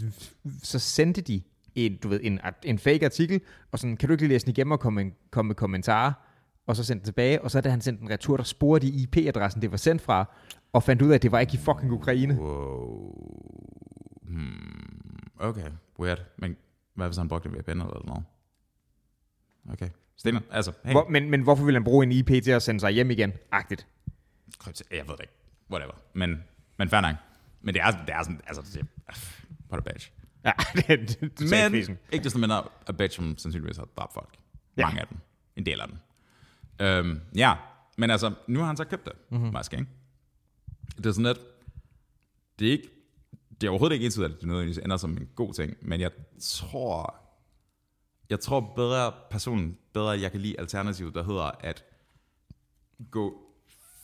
Speaker 2: så sendte de en, du ved, en, art- en fake artikel, og sådan, kan du ikke lige læse den igennem og komme, en- komme med kommentarer? Og så sendte den tilbage, og så da han sendte en retur, der spurgte de IP-adressen, det var sendt fra, og fandt ud af, at det var ikke i fucking Ukraine.
Speaker 1: Wow. Hmm. Okay, weird. Men hvad hvis han brugte en VPN eller noget? Okay. Stener, altså, hey.
Speaker 2: Hvor, men, men hvorfor ville han bruge en IP til at sende sig hjem igen? Agtigt.
Speaker 1: krypto, jeg ved det ikke, whatever, men, men fair nok. Men det er, det er sådan, altså, det er, what a bitch.
Speaker 2: Ja, (laughs) det er det er totalt
Speaker 1: Men
Speaker 2: fisen.
Speaker 1: ikke desto mindre a bitch, som sandsynligvis har dræbt folk.
Speaker 2: Ja.
Speaker 1: Ja. Mange af dem. En del af dem. Øhm, ja, men altså, nu har han så købt det, mm-hmm. Musk, ikke? Det er sådan lidt, det er ikke, det er overhovedet ikke entydigt, at det nødvendigvis ender som en god ting, men jeg tror, jeg tror bedre personen, bedre jeg kan lide alternativet, der hedder at gå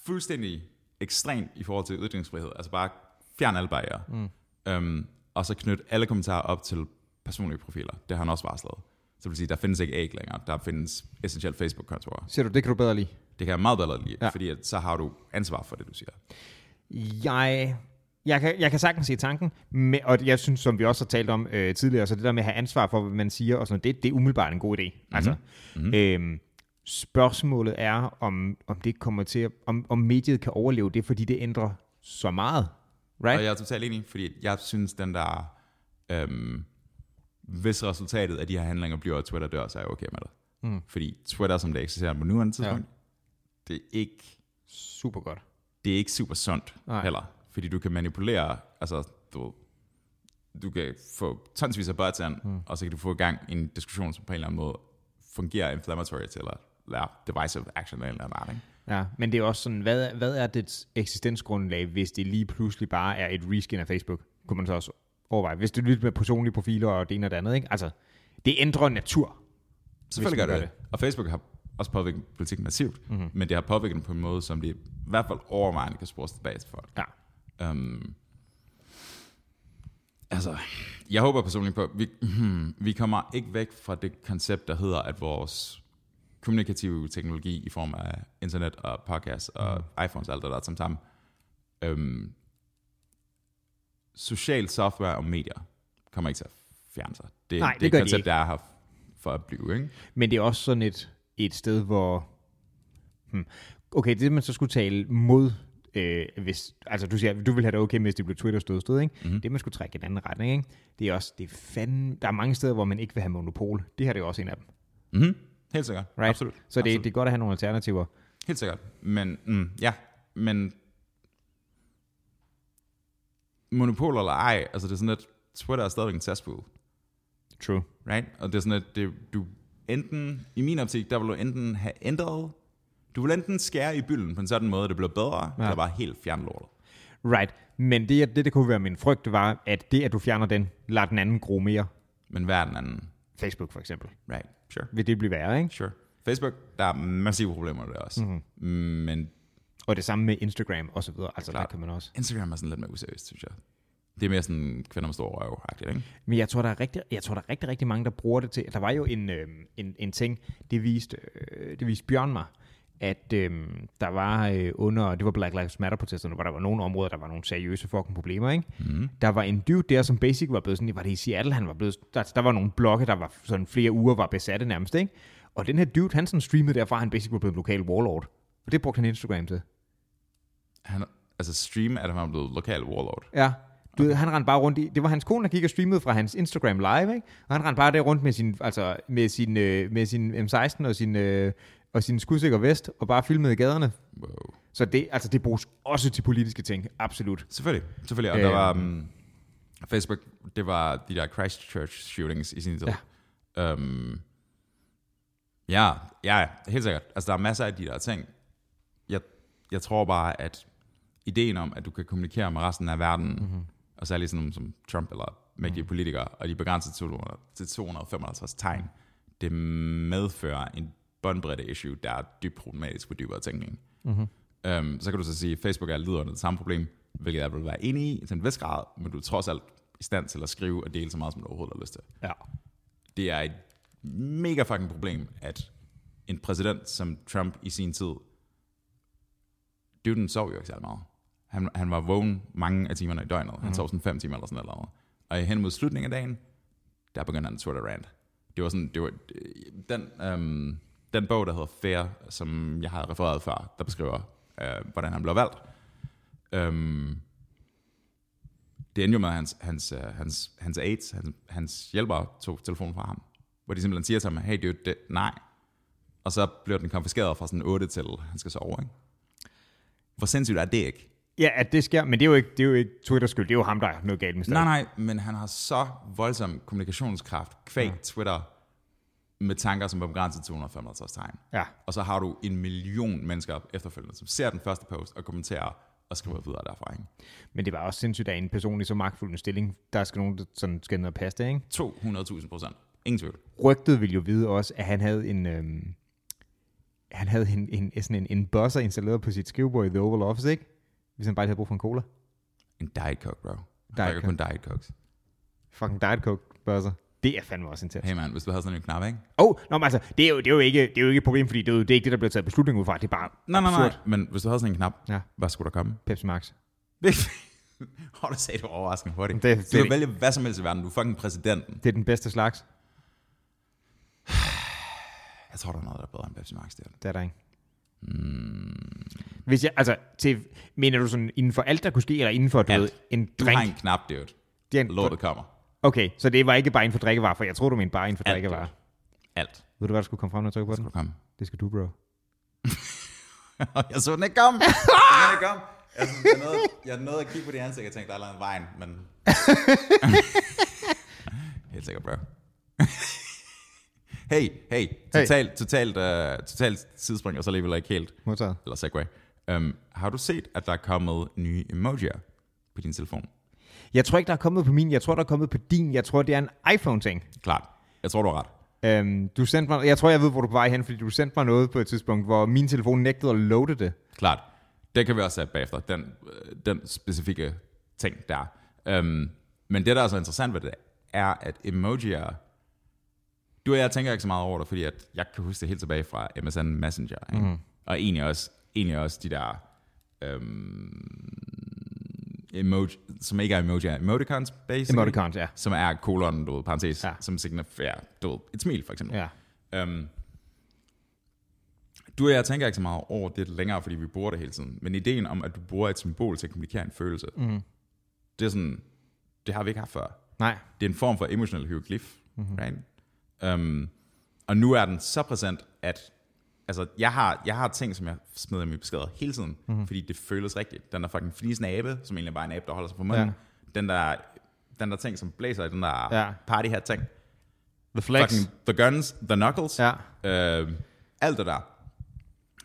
Speaker 1: fuldstændig ekstremt i forhold til ytringsfrihed, altså bare fjerne alle barriere, mm. øhm, og så knytte alle kommentarer op til personlige profiler. Det har han også varslet. Så det vil sige, der findes ikke æg længere, der findes essentielt Facebook-kontorer.
Speaker 2: Ser du, det kan du bedre lide.
Speaker 1: Det kan jeg meget bedre lide,
Speaker 2: Ja.
Speaker 1: ja. fordi at, så har du ansvar for det, du siger.
Speaker 2: Jeg, jeg, kan, jeg kan sagtens se tanken, men, og jeg synes, som vi også har talt om øh, tidligere, så det der med at have ansvar for, hvad man siger, og sådan noget, det, det er umiddelbart en god idé. Altså, mm-hmm. øhm, spørgsmålet er, om, om det kommer til, at- om, om mediet kan overleve det, fordi det ændrer så meget. Right?
Speaker 1: Og jeg er totalt enig, fordi jeg synes, den der... Øhm, hvis resultatet af de her handlinger bliver, at Twitter dør, så er jeg okay med det. Mm. Fordi Twitter, som det eksisterer på nuværende tidspunkt, ja. det, er ikke,
Speaker 2: Super godt.
Speaker 1: det er ikke super sundt
Speaker 2: Nej.
Speaker 1: Nej. heller. Fordi du kan manipulere, altså du, du kan få tonsvis af bots an, mm. og så kan du få i gang i en diskussion, som på en eller anden måde fungerer inflammatory til, eller lære divisive action eller en eller anden art, ikke?
Speaker 2: Ja, men det er også sådan, hvad, hvad er dets eksistensgrundlag, hvis det lige pludselig bare er et reskin af Facebook? Kunne man så også overveje. Hvis det lytter med personlige profiler og det ene og det andet, ikke? Altså, det ændrer natur.
Speaker 1: Selvfølgelig
Speaker 2: man
Speaker 1: gør det.
Speaker 2: gør Mhm.
Speaker 1: det. Og Facebook har også påvirket politik massivt, mm-hmm. men det har påvirket den på en måde, som det i hvert fald overvejende kan spores tilbage til folk.
Speaker 2: Ja.
Speaker 1: Um, altså, jeg håber personligt på, vi, hmm, vi kommer ikke væk fra det koncept, der hedder, at vores kommunikativ teknologi i form af internet og podcast og
Speaker 2: Mhm.
Speaker 1: mm. iPhones og alt det der samt sammen. Øhm, social software og medier kommer ikke til at fjerne sig. Det,
Speaker 2: Nej,
Speaker 1: det,
Speaker 2: det
Speaker 1: det
Speaker 2: gør
Speaker 1: er et
Speaker 2: de
Speaker 1: koncept,
Speaker 2: ikke.
Speaker 1: der er her for at blive. Ikke?
Speaker 2: Men det er også sådan et, et sted, hvor... Hmm. Okay, det man så skulle tale mod... Øh, hvis, altså du siger, du ville have det okay, hvis det blev Twitters dødsted, ikke?
Speaker 1: Mhm.
Speaker 2: Mm-hmm. Det man skulle trække i en anden retning, ikke? Det er også, det er fandme, der er mange steder, hvor man ikke vil have monopol. Det her det er jo også en af dem,
Speaker 1: Mm-hmm. Helt sikkert.
Speaker 2: right?
Speaker 1: Absolut.
Speaker 2: Så det,
Speaker 1: Absolut.
Speaker 2: det er godt at have nogle alternativer.
Speaker 1: Helt sikkert. Men mm, ja, men monopol eller ej, altså det er sådan lidt, Twitter er stadigvæk en cesspool,
Speaker 2: True.
Speaker 1: right? Og det er sådan lidt, det, du enten, i min optik, der vil du enten have ændret, du vil enten skære i bylden på en sådan måde, at det bliver bedre, ja. eller bare helt fjerne lortet.
Speaker 2: Right. Men det, jeg- det, der kunne være min frygt, var, at det, at du fjerner den, lader den anden gro mere.
Speaker 1: Men hver den anden,
Speaker 2: Facebook for eksempel.
Speaker 1: right? Sure,
Speaker 2: Vil det blive værre, ikke?
Speaker 1: sure. Facebook, der er massive problemer med det også. Mm-hmm. Men
Speaker 2: Og det samme med Instagram og så videre. Altså, der
Speaker 1: Klart.
Speaker 2: kan man også.
Speaker 1: Instagram er sådan lidt mere useriøst, synes jeg. Det er mere sådan kvinder med store røv-agtigt, ikke?
Speaker 2: Men jeg tror, der er rigtig, jeg tror, der er rigtig, rigtig mange, der bruger det til. Der var jo en, øh, en, en ting, det viste, øh, det viste Bjørn mig, at øh, der var øh, under, det var Black Lives Matter-protesterne, hvor der var nogle områder, der var nogle seriøse fucking problemer, ikke? Mm. Der var en dude der, som basic var blevet sådan, var det i Seattle, han var blevet, der, der var nogle blokke, der var sådan flere uger var besatte nærmest, ikke? Og den her dude, han sådan streamede derfra, han basic var blevet en lokal warlord. Og det brugte han Instagram til.
Speaker 1: Han, altså stream er, at han er blevet lokal warlord.
Speaker 2: Ja. Du ved, han rendte bare rundt i, det var hans kone, der gik og streamede fra hans Instagram live, ikke? Og han rendte bare der rundt med sin, altså med sin, øh, med sin M16 og sin, øh, og sin skudsikker vest, og bare filmede i gaderne.
Speaker 1: Wow.
Speaker 2: Så det, altså det bruges også til politiske ting, absolut.
Speaker 1: Selvfølgelig, selvfølgelig. Og
Speaker 2: Øhm.
Speaker 1: der var um, Facebook, det var de der Christchurch shootings i sin tid. Ja. Um, ja, ja, ja, helt sikkert. Altså, der er masser af de der ting. Jeg, jeg tror bare, at ideen om, at du kan kommunikere med resten af verden, mm-hmm. og særligt sådan nogle som Trump eller med de politikere, og de er begrænset til 200 til 255 tegn, det medfører en båndbredde issue, der er dybt problematisk for dybere tænkning. Øhm, så kan du så sige, at Facebook er lidt under det samme problem, hvilket jeg vil være enig i til en vis grad, men du er trods alt i stand til at skrive og dele så meget, som du overhovedet har lyst til.
Speaker 2: Ja.
Speaker 1: Det er et mega fucking problem, at en præsident som Trump i sin tid, duden sov jo ikke særlig meget. Han, han var vågen mange af timerne i døgnet. Han sov sådan fem timer eller sådan noget. Og hen mod slutningen af dagen, der begyndte han Twitter rant. Det var sådan, det var, den, øhm, den bog, der hedder Fair, som jeg har refereret før, der beskriver, øh, hvordan han blev valgt. Øhm, det endte jo med, at hans, hans, øh, hans, hans aides, hans, hans hjælpere, tog telefonen fra ham. Hvor de simpelthen siger til ham, hey dude, det, nej. Og så bliver den konfiskeret fra sådan 8 til, han skal sove, ikke? Hvor sindssygt er det ikke?
Speaker 2: Ja, at det sker, men det er jo ikke, det er jo ikke Twitters skyld, det er jo ham, der er noget galt med
Speaker 1: Nej, nej, men han har så voldsom kommunikationskraft kvæg ja. Twitter med tanker, som var begrænset til 255 tegn.
Speaker 2: Ja.
Speaker 1: Og så har du en million mennesker efterfølgende, som ser den første post og kommenterer og skriver videre derfra. Ikke?
Speaker 2: Men det var også sindssygt af en person i så magtfuld en stilling, der skal nogen, der sådan skal ned og passe det, ikke?
Speaker 1: 200.000 procent. Ingen tvivl.
Speaker 2: rygtet ville jo vide også, at han havde en... Øhm, han havde en, en, sådan en, en buzzer installeret på sit skrivebord i The Oval Office, ikke? Hvis han bare lige havde brug for en cola.
Speaker 1: En Diet Coke, bro.
Speaker 2: Diet
Speaker 1: Diet Coke. kun Diet Cokes.
Speaker 2: Fucking Diet Coke buzzer. Det er fandme også intenst.
Speaker 1: Hey man, hvis du havde sådan en knap, ikke?
Speaker 2: Åh, oh, nå, men altså, det er, jo, det, er jo ikke, det er jo ikke et problem, fordi det er, jo, det er ikke det, der bliver taget beslutning ud fra. Det er bare
Speaker 1: Nej, nej, nej.
Speaker 2: absurd.
Speaker 1: Men hvis du havde sådan en knap,
Speaker 2: Ja.
Speaker 1: hvad skulle der komme?
Speaker 2: Pepsi Max.
Speaker 1: (laughs) Har du sagde du overraskende hurtigt.
Speaker 2: Det-
Speaker 1: Det, det,
Speaker 2: det-
Speaker 1: du kan vælge hvad som helst i verden. Du er fucking præsidenten.
Speaker 2: Det er den bedste slags.
Speaker 1: Jeg tror, der er noget, der er bedre end Pepsi Max. Der.
Speaker 2: Det er der ikke.
Speaker 1: Hmm.
Speaker 2: Mm. Hvis jeg, altså, til, mener du sådan inden for alt, der kunne ske, eller inden for, du
Speaker 1: Alt.
Speaker 2: ved, en
Speaker 1: Du
Speaker 2: drink?
Speaker 1: har en knap, dude.
Speaker 2: Det er en,
Speaker 1: Lortet kommer.
Speaker 2: okay, så det var ikke bare inden for drikkevarer, for jeg tror, du mente bare inden for
Speaker 1: Alt.
Speaker 2: drikkevarer.
Speaker 1: Alt.
Speaker 2: Ved du, hvad der skulle komme frem, når jeg trykker på den?
Speaker 1: Skulle komme. (laughs)
Speaker 2: Det skal du, bro.
Speaker 1: jeg så den ikke komme. Jeg så den ikke komme. Jeg, sådan, jeg, nåede, jeg nåede at kigge på de ansigt og tænkte, der er lavet en vejen, men... (laughs) Helt sikkert, bro. (laughs) hey, hey. Totalt, totalt, uh, totalt sidespring, og så alligevel ikke helt.
Speaker 2: Modtaget.
Speaker 1: Eller segway. Um, har du set, at der er kommet nye emojier på din telefon?
Speaker 2: Jeg tror ikke, der er kommet på min. Jeg tror, der er kommet på din. Jeg tror, det er en iPhone-ting.
Speaker 1: Klart. Jeg tror, du har ret.
Speaker 2: Øhm, du sendte mig, jeg tror, jeg ved, hvor du er på vej hen, fordi du sendte mig noget på et tidspunkt, hvor min telefon nægtede at loade det.
Speaker 1: Klart. Det kan vi også sætte bagefter, den, øh, den specifikke ting der. Øhm, Um, men det, der er så interessant ved det, er, at emojier... Du og jeg tænker ikke så meget over det, fordi at jeg kan huske det helt tilbage fra MSN Messenger. Ikke? Mm. Og egentlig også, egentlig også de der øhm, emoji, som ikke er emoji, emoticons basically.
Speaker 2: Emoticons, ja.
Speaker 1: Som er kolon, du ved, parentes,
Speaker 2: Ja.
Speaker 1: ja. som significerer, du ved, et smil for eksempel.
Speaker 2: Ja.
Speaker 1: Øhm, du og jeg tænker ikke så meget over det længere, fordi vi bruger det hele tiden. Men ideen om, at du bruger et symbol til at kommunikere en følelse, mm. det er sådan, det har vi ikke haft før.
Speaker 2: Nej.
Speaker 1: Det er en form for emotional hieroglyf.
Speaker 2: Mhm.
Speaker 1: Mm-hmm. Right? Um, og nu er den så præsent, at altså, jeg, har, jeg har ting, som jeg smider i mine beskeder hele tiden,
Speaker 2: Mhm.
Speaker 1: mm-hmm. fordi det føles rigtigt. Den der fucking fnisende abe, som egentlig bare er en abe, der holder sig på munden.
Speaker 2: Ja.
Speaker 1: Den, der, den der ting, som blæser i den der
Speaker 2: Ja.
Speaker 1: ja. party her ting.
Speaker 2: The Flex.
Speaker 1: Fucking the guns, the knuckles.
Speaker 2: Ja.
Speaker 1: Øh, alt det der.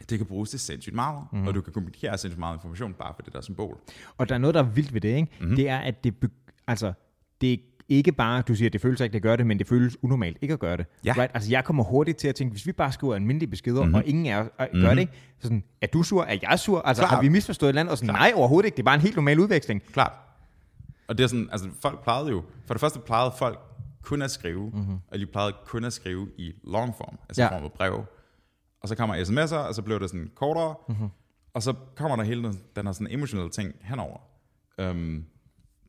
Speaker 1: Det kan bruges til sindssygt meget,
Speaker 2: Mhm.
Speaker 1: mm-hmm. og du kan kommunikere sindssygt meget information bare for det der symbol.
Speaker 2: Og der er noget, der er vildt ved det, ikke? Mm-hmm. Det er, at det, beg- altså, det er ikke bare, du siger, at det føles ikke, at gøre det, men det føles unormalt ikke at gøre det.
Speaker 1: Ja.
Speaker 2: Right? Altså, jeg kommer hurtigt til at tænke, hvis vi bare skriver almindelige beskeder, mm-hmm. og ingen af os øh, gør mm-hmm. det, ikke? Så sådan, er du sur? Er jeg sur? Altså, Klar.
Speaker 1: Klart.
Speaker 2: har vi misforstået et eller andet? Og sådan, nej, overhovedet ikke. Det er bare en helt normal udveksling.
Speaker 1: Klart. Og det er sådan, altså folk plejede jo, for det første plejede folk kun at skrive, mm-hmm. og de plejede kun at skrive i long form, altså
Speaker 2: Mhm. Ja.
Speaker 1: ja. form af brev. Og så kommer sms'er, og så blev det sådan kortere,
Speaker 2: Mhm.
Speaker 1: mm-hmm. og så kommer der hele den- den her sådan emotionelle ting henover. Um,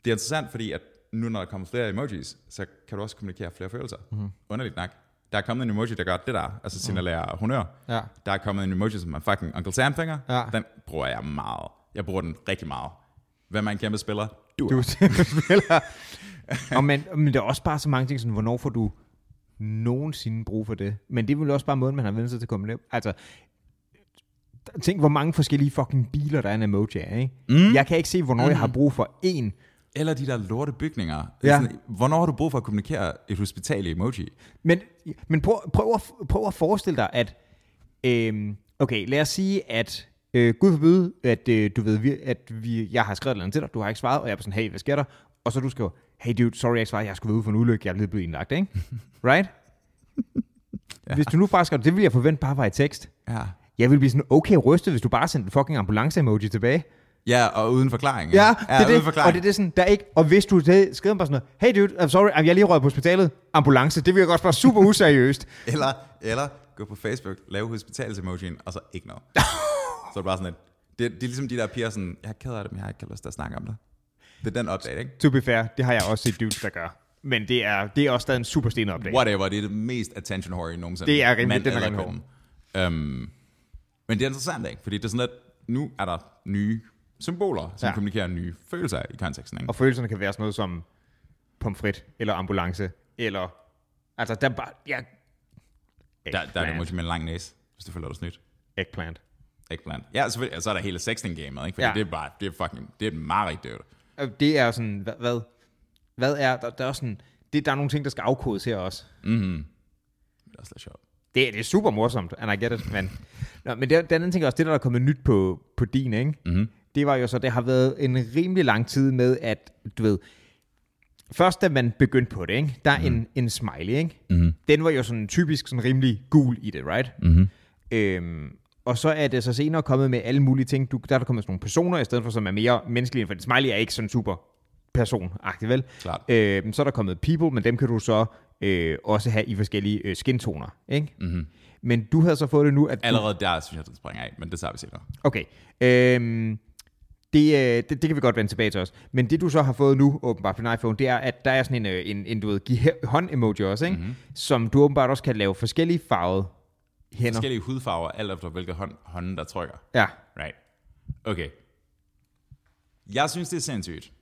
Speaker 1: det er interessant, fordi at nu når der kommer flere emojis, så kan du også kommunikere flere følelser.
Speaker 2: Mhm.
Speaker 1: Mm-hmm. Underligt nok. Der er kommet en emoji, der gør det der, altså signalerer mm. honør.
Speaker 2: Mhm. Ja.
Speaker 1: Der er kommet en emoji, som er fucking Uncle Sam finger.
Speaker 2: Ja.
Speaker 1: Den bruger jeg meget. Jeg bruger den rigtig meget. Hvem er en kæmpe spiller? Du.
Speaker 2: Du (laughs) spiller. og man, men der er også bare så mange ting, sådan, hvornår får du nogensinde brug for det? Men det er vel også bare måden, man har vendt sig til at komme ned. Altså, tænk, hvor mange forskellige fucking biler, der er en emoji af, ikke? Mm. Jeg kan ikke se, hvornår mm. jeg har brug for en.
Speaker 1: Eller de der lorte bygninger.
Speaker 2: Ja.
Speaker 1: Ja. Sådan, hvornår har du brug for at kommunikere et hospital i emoji?
Speaker 2: Men, men prøv, prøv, at, prøv at forestille dig, at... Øhm, okay, lad os sige, at... Øh, Gud forbyde, at øh, du ved, vi, at vi, jeg har skrevet noget til dig, du har ikke svaret, og jeg er sådan, hey, hvad sker der? Og så du skriver, hey dude, sorry, jeg ikke svarede, jeg skulle være ude for en ulykke, jeg er lige blevet indlagt, (laughs) ikke? Right? ja. Hvis du nu faktisk skrev, det ville jeg forvente bare var i tekst.
Speaker 1: Ja.
Speaker 2: Jeg ville blive sådan okay rystet, hvis du bare sendte en fucking ambulance-emoji tilbage.
Speaker 1: Ja, og uden forklaring.
Speaker 2: Ja,
Speaker 1: ja
Speaker 2: det er
Speaker 1: uden
Speaker 2: det. Og
Speaker 1: forklaring.
Speaker 2: det er det sådan, der er ikke... Og hvis du havde skrevet bare sådan noget, hey dude, I'm sorry, jeg er lige røget på hospitalet, ambulance, det virker også bare super useriøst.
Speaker 1: Eller, eller gå på Facebook, lave hospitalsemojien, og så ikke
Speaker 2: (laughs)
Speaker 1: noget. så er det bare sådan et, det, det er ligesom de der piger sådan, jeg er ked af det, men jeg har ikke lyst til at snakke om det. Det er den update, ikke?
Speaker 2: To be fair, det har jeg også set dudes, der gør. Men det er, det er også stadig en super sten opdag.
Speaker 1: Whatever, det er det mest attention horror nogensinde.
Speaker 2: Det er rimelig-
Speaker 1: Mand
Speaker 2: den er
Speaker 1: eller
Speaker 2: rimelig
Speaker 1: kvinde. Øhm, men det er interessant, ikke? Fordi det er sådan, at nu er der nye symboler, som
Speaker 2: Ja.
Speaker 1: ja. kommunikerer nye følelser i konteksten, ikke?
Speaker 2: Og følelserne kan være sådan noget som pomfrit, eller ambulance, eller... Altså, der er bare... Ja,
Speaker 1: Der, der er det
Speaker 2: Eggplant.
Speaker 1: måske med en lang næse, hvis du føler dig snydt.
Speaker 2: Eggplant.
Speaker 1: Eggplant. Ja, selvfølgelig. Og så er der hele sexting-gamet, ikke? Fordi
Speaker 2: Ja.
Speaker 1: ja. det er bare, det er fucking, det er et mareridt, det er jo.
Speaker 2: Og Det er jo sådan, hvad, hvad, hvad er... Der, der er sådan, det, der er nogle ting, der skal afkodes her også.
Speaker 1: Det er også lidt sjovt.
Speaker 2: Det, er- det er super morsomt, and I get it, men... Nå, men det, den anden ting er også, det der er kommet nyt på, på din, ikke? Mm-hmm. Det var jo så, det har været en rimelig lang tid med, at, du ved... Først, da man begyndte på det, ikke? Der er mm-hmm. en, en smiley, ikke? Mm-hmm. Den var jo sådan typisk sådan rimelig gul i det, right? Mm-hmm. Øhm, og så er det så senere kommet med alle mulige ting. Du, der er der kommet sådan nogle personer, i stedet for som er mere menneskelige, for en smiley er ikke sådan super personagtig, vel?
Speaker 1: Klart.
Speaker 2: Øhm, så er der kommet people, men dem kan du så øh, også have i forskellige øh, skintoner, ikke?
Speaker 1: Mhm.
Speaker 2: Mm-hmm. Men du havde så fået det nu, at... Du,
Speaker 1: Allerede der, synes jeg, den springer af, men det tager vi senere.
Speaker 2: okay. Øhm, det, øh, det, det kan vi godt vende tilbage til også. Men det, du så har fået nu, åbenbart på din iPhone, det er, at der er sådan en, øh, en, en du ved, give hæ- hånd-emoji også, ikke?
Speaker 1: Mhm.
Speaker 2: Mm-hmm. Som du åbenbart også kan lave forskellige farvede hænder.
Speaker 1: Forskellige hudfarver, alt efter hvilke hånd, hånden, der trykker.
Speaker 2: Ja.
Speaker 1: Right. Okay. Jeg synes, det er sindssygt.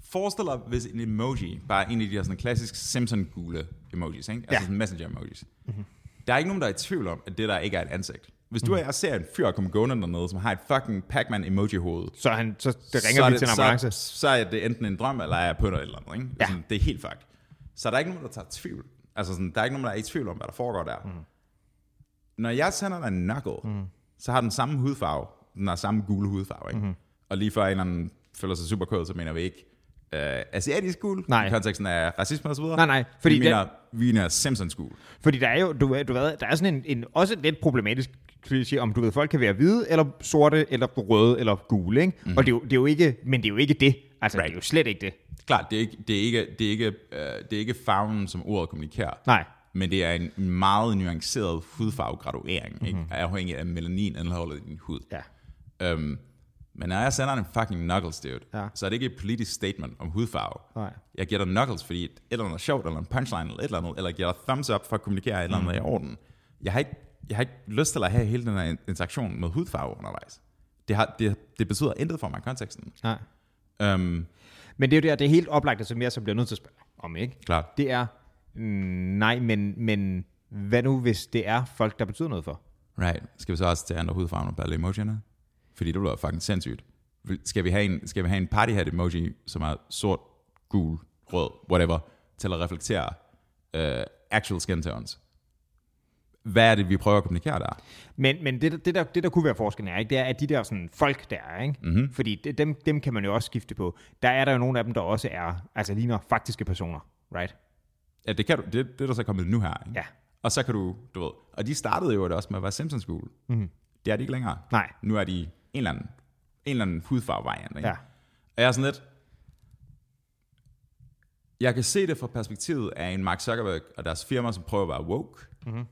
Speaker 1: Forestil dig, hvis en emoji, bare en af de her sådan klassisk Simpson-gule emojis, ikke?
Speaker 2: Ja.
Speaker 1: altså sådan messenger-emojis. Mm-hmm. Der er ikke nogen, der er i tvivl om, at det der ikke er et ansigt. Hvis du og jeg ser en fyr komme gående dernede, som har et fucking Pac-Man-emoji-hoved,
Speaker 2: Så, han, så det ringer
Speaker 1: er
Speaker 2: vi
Speaker 1: det-
Speaker 2: til en ambulance.
Speaker 1: Så, så er det enten en drøm, eller jeg er på noget eller andet. Ikke?
Speaker 2: Ja.
Speaker 1: Ja. Sådan, det er helt fucked. Så der er ikke nogen, der tager tvivl. Altså, sådan, der er ikke nogen, der er i tvivl om, hvad der foregår der. Mm. Når jeg sender dig en knuckle, mm. så har den samme hudfarve. Den har samme gule hudfarve.
Speaker 2: Mm-hmm.
Speaker 1: Ikke? Mm. Og lige før en eller anden føler sig super kød, så mener vi ikke øh, asiatisk gul.
Speaker 2: Nej.
Speaker 1: I konteksten af racisme og så videre.
Speaker 2: Nej, nej, fordi
Speaker 1: vi mener, vi mener Simpsons gul.
Speaker 2: Fordi der er jo, du, ved- du ved, der er sådan en, en også lidt problematisk kliché, om du ved, folk kan være hvide, eller sorte, eller røde, eller gule, ikke? Mm. Og det er, jo, det er jo ikke, men det er jo ikke det. Altså, right. det er jo slet ikke det.
Speaker 1: Klart, det er ikke, det er ikke, det er ikke, øh, det er ikke farven, som ordet kommunikerer.
Speaker 2: Nej.
Speaker 1: men det er en meget nuanceret hudfarvegraduering, mm-hmm. ikke? afhængig af melaninindholdet i din hud.
Speaker 2: Mhm. Ja.
Speaker 1: Øhm, men når jeg sender en fucking knuckles, dude,
Speaker 2: Ja.
Speaker 1: ja. så er det ikke et politisk statement om hudfarve.
Speaker 2: Nej.
Speaker 1: Jeg giver dig knuckles, fordi et eller andet er sjovt, eller en punchline, eller et eller andet, eller jeg giver dig thumbs up for at kommunikere at et eller andet
Speaker 2: Mhm.
Speaker 1: er i orden. Jeg har, ikke, jeg har ikke lyst til at have hele den her interaktion med hudfarve undervejs. Det, har, det, det betyder intet for mig i konteksten.
Speaker 2: Nej.
Speaker 1: Øhm,
Speaker 2: Men det er jo der, det er helt oplagt, som jeg så bliver nødt til at spørge om, ikke?
Speaker 1: klart.
Speaker 2: Det er, mm, nej, men, men hvad nu, hvis det er folk, der betyder noget for?
Speaker 1: Right. Skal vi så også til andre hudfarver på alle emojierne? Fordi det bliver fucking sindssygt. Vil- Skal vi have en, skal vi have en partyhat emoji, som er sort, gul, rød, whatever, til at reflektere uh, actual skin tones? Hvad er det, vi prøver at kommunikere der?
Speaker 2: Men, men det, der- det, der, det, der kunne være forskellen er, ikke, det er, at de der sådan, folk, der er, ikke? Mm-hmm. fordi det, dem, dem kan man jo også skifte på. Der er der jo nogle af dem, der også er, altså ligner faktiske personer, right?
Speaker 1: Ja, det, kan du, det, det er der så kommet nu her. Ikke?
Speaker 2: Ja.
Speaker 1: Og så kan du, du ved, og de startede jo også med at være Simpsons gul. Mm. Det er de ikke længere.
Speaker 2: Nej.
Speaker 1: Nu er de en eller anden, en eller anden hudfarvevariant. ikke?
Speaker 2: Ja.
Speaker 1: Og jeg er sådan lidt... Jeg kan se det fra perspektivet af en Mark Zuckerberg og deres firma, som prøver at være woke. Mm-hmm.